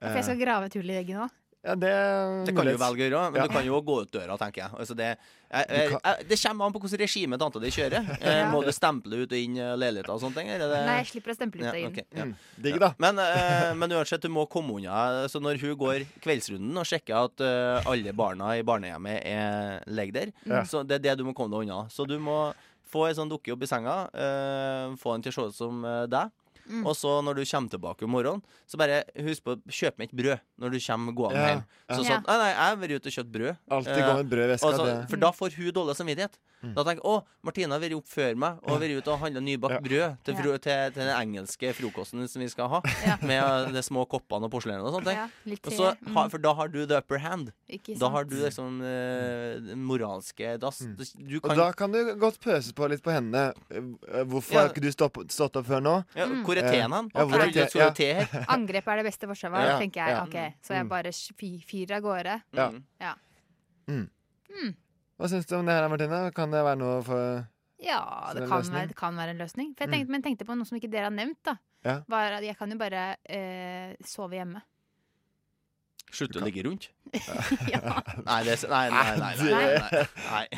Eh,
Ja, For jeg skal grave et hull i veggen òg.
Ja, det mm,
Det kan du jo velge å gjøre, men
Ja.
du kan jo også gå ut døra, tenker jeg. Altså det, jeg, jeg, jeg det kommer an på hvilket regime tanta di kjører. Eh, må du stemple ut og inn eh, leiligheter og sånne ting? Eller? er det-
Nei, jeg slipper å stemple ut og
Ja,
inn.
ok, ja.
Mm, Digg, da.
Men, eh, men uansett, du må komme unna. Så når hun går kveldsrunden og sjekker at eh, alle barna i barnehjemmet er ligger der,
Ja.
så det er det du må komme deg unna. Så du må få ei sånn dukke opp i senga, eh, få den til å se ut som eh, deg.
Mm.
Og så når du kommer tilbake om morgenen, så bare husk på å kjøpe med et brød når du kommer gående
Ja, ja.
hjem. Så, sånn, nei, nei, jeg har vært ute og kjøpt brød.
Alltid
Eh,
gå med brød i veska,
og så-
det-
For da får hun dårlig samvittighet.
Mm.
Da tenker jeg å, Martine har vært opp før meg og har vært ute og handla nybakt brød til, fro til, til den engelske frokosten som vi skal ha. Med de små koppene og porselenet og sånne ting.
Ja, litt
og
te,
så,
mm.
har- for da har du the upper hand.
Ikke
Da
sant.
har du liksom eh, den moralske dass. Du
Mm. Og
kan
da kan du godt pøse på litt på hendene. Eh, Hvorfor
Ja.
har ikke du stopp, stått opp før nå?
Ja,
Mm.
hvor er
Eh,
teen hen?
Ja, hvor er
Herregud,
teen?
skal du te her?
Angrep er det beste forsvaret,
Ja,
tenker jeg.
ja.
Ok, Så jeg bare sj- fy- fyrer av gårde.
Mm. Ja.
Ja.
Mm.
Mm.
Hva syns du om det her, Martine? Kan det være noe for
ja
Så
det,
det er
kan
løsning?
være, det kan være en løsning. For jeg
Mm.
tenkte, men tenkte på noe som ikke dere har nevnt. da
Ja.
var at Jeg kan jo bare eh, sove hjemme.
Slutte å ligge rundt?
Ja.
Nei, det Nei, nei, nei. nei, nei, nei.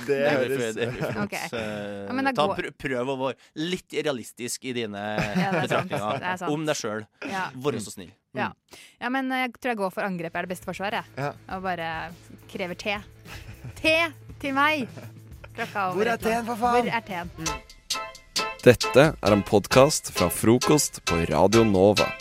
Det-
Nei,
det
for-
høres-
for-
Ok.
så-
Ja, men da
ta,
går-
pr- prøv å være litt realistisk i dine
det er sant. Det er
betraktninger
sant.
om deg sjøl.
Ja.
Vær så snill.
Mm.
Ja. ja, men eh, jeg tror jeg går for angrep er det beste forsvaret. jeg.
Ja.
Og bare krever te. Te til meg! Klokka over
Hvor er
et eller annet.
teen, for faen?
Hvor er teen?
Dette er en podkast fra frokost på Radio Nova.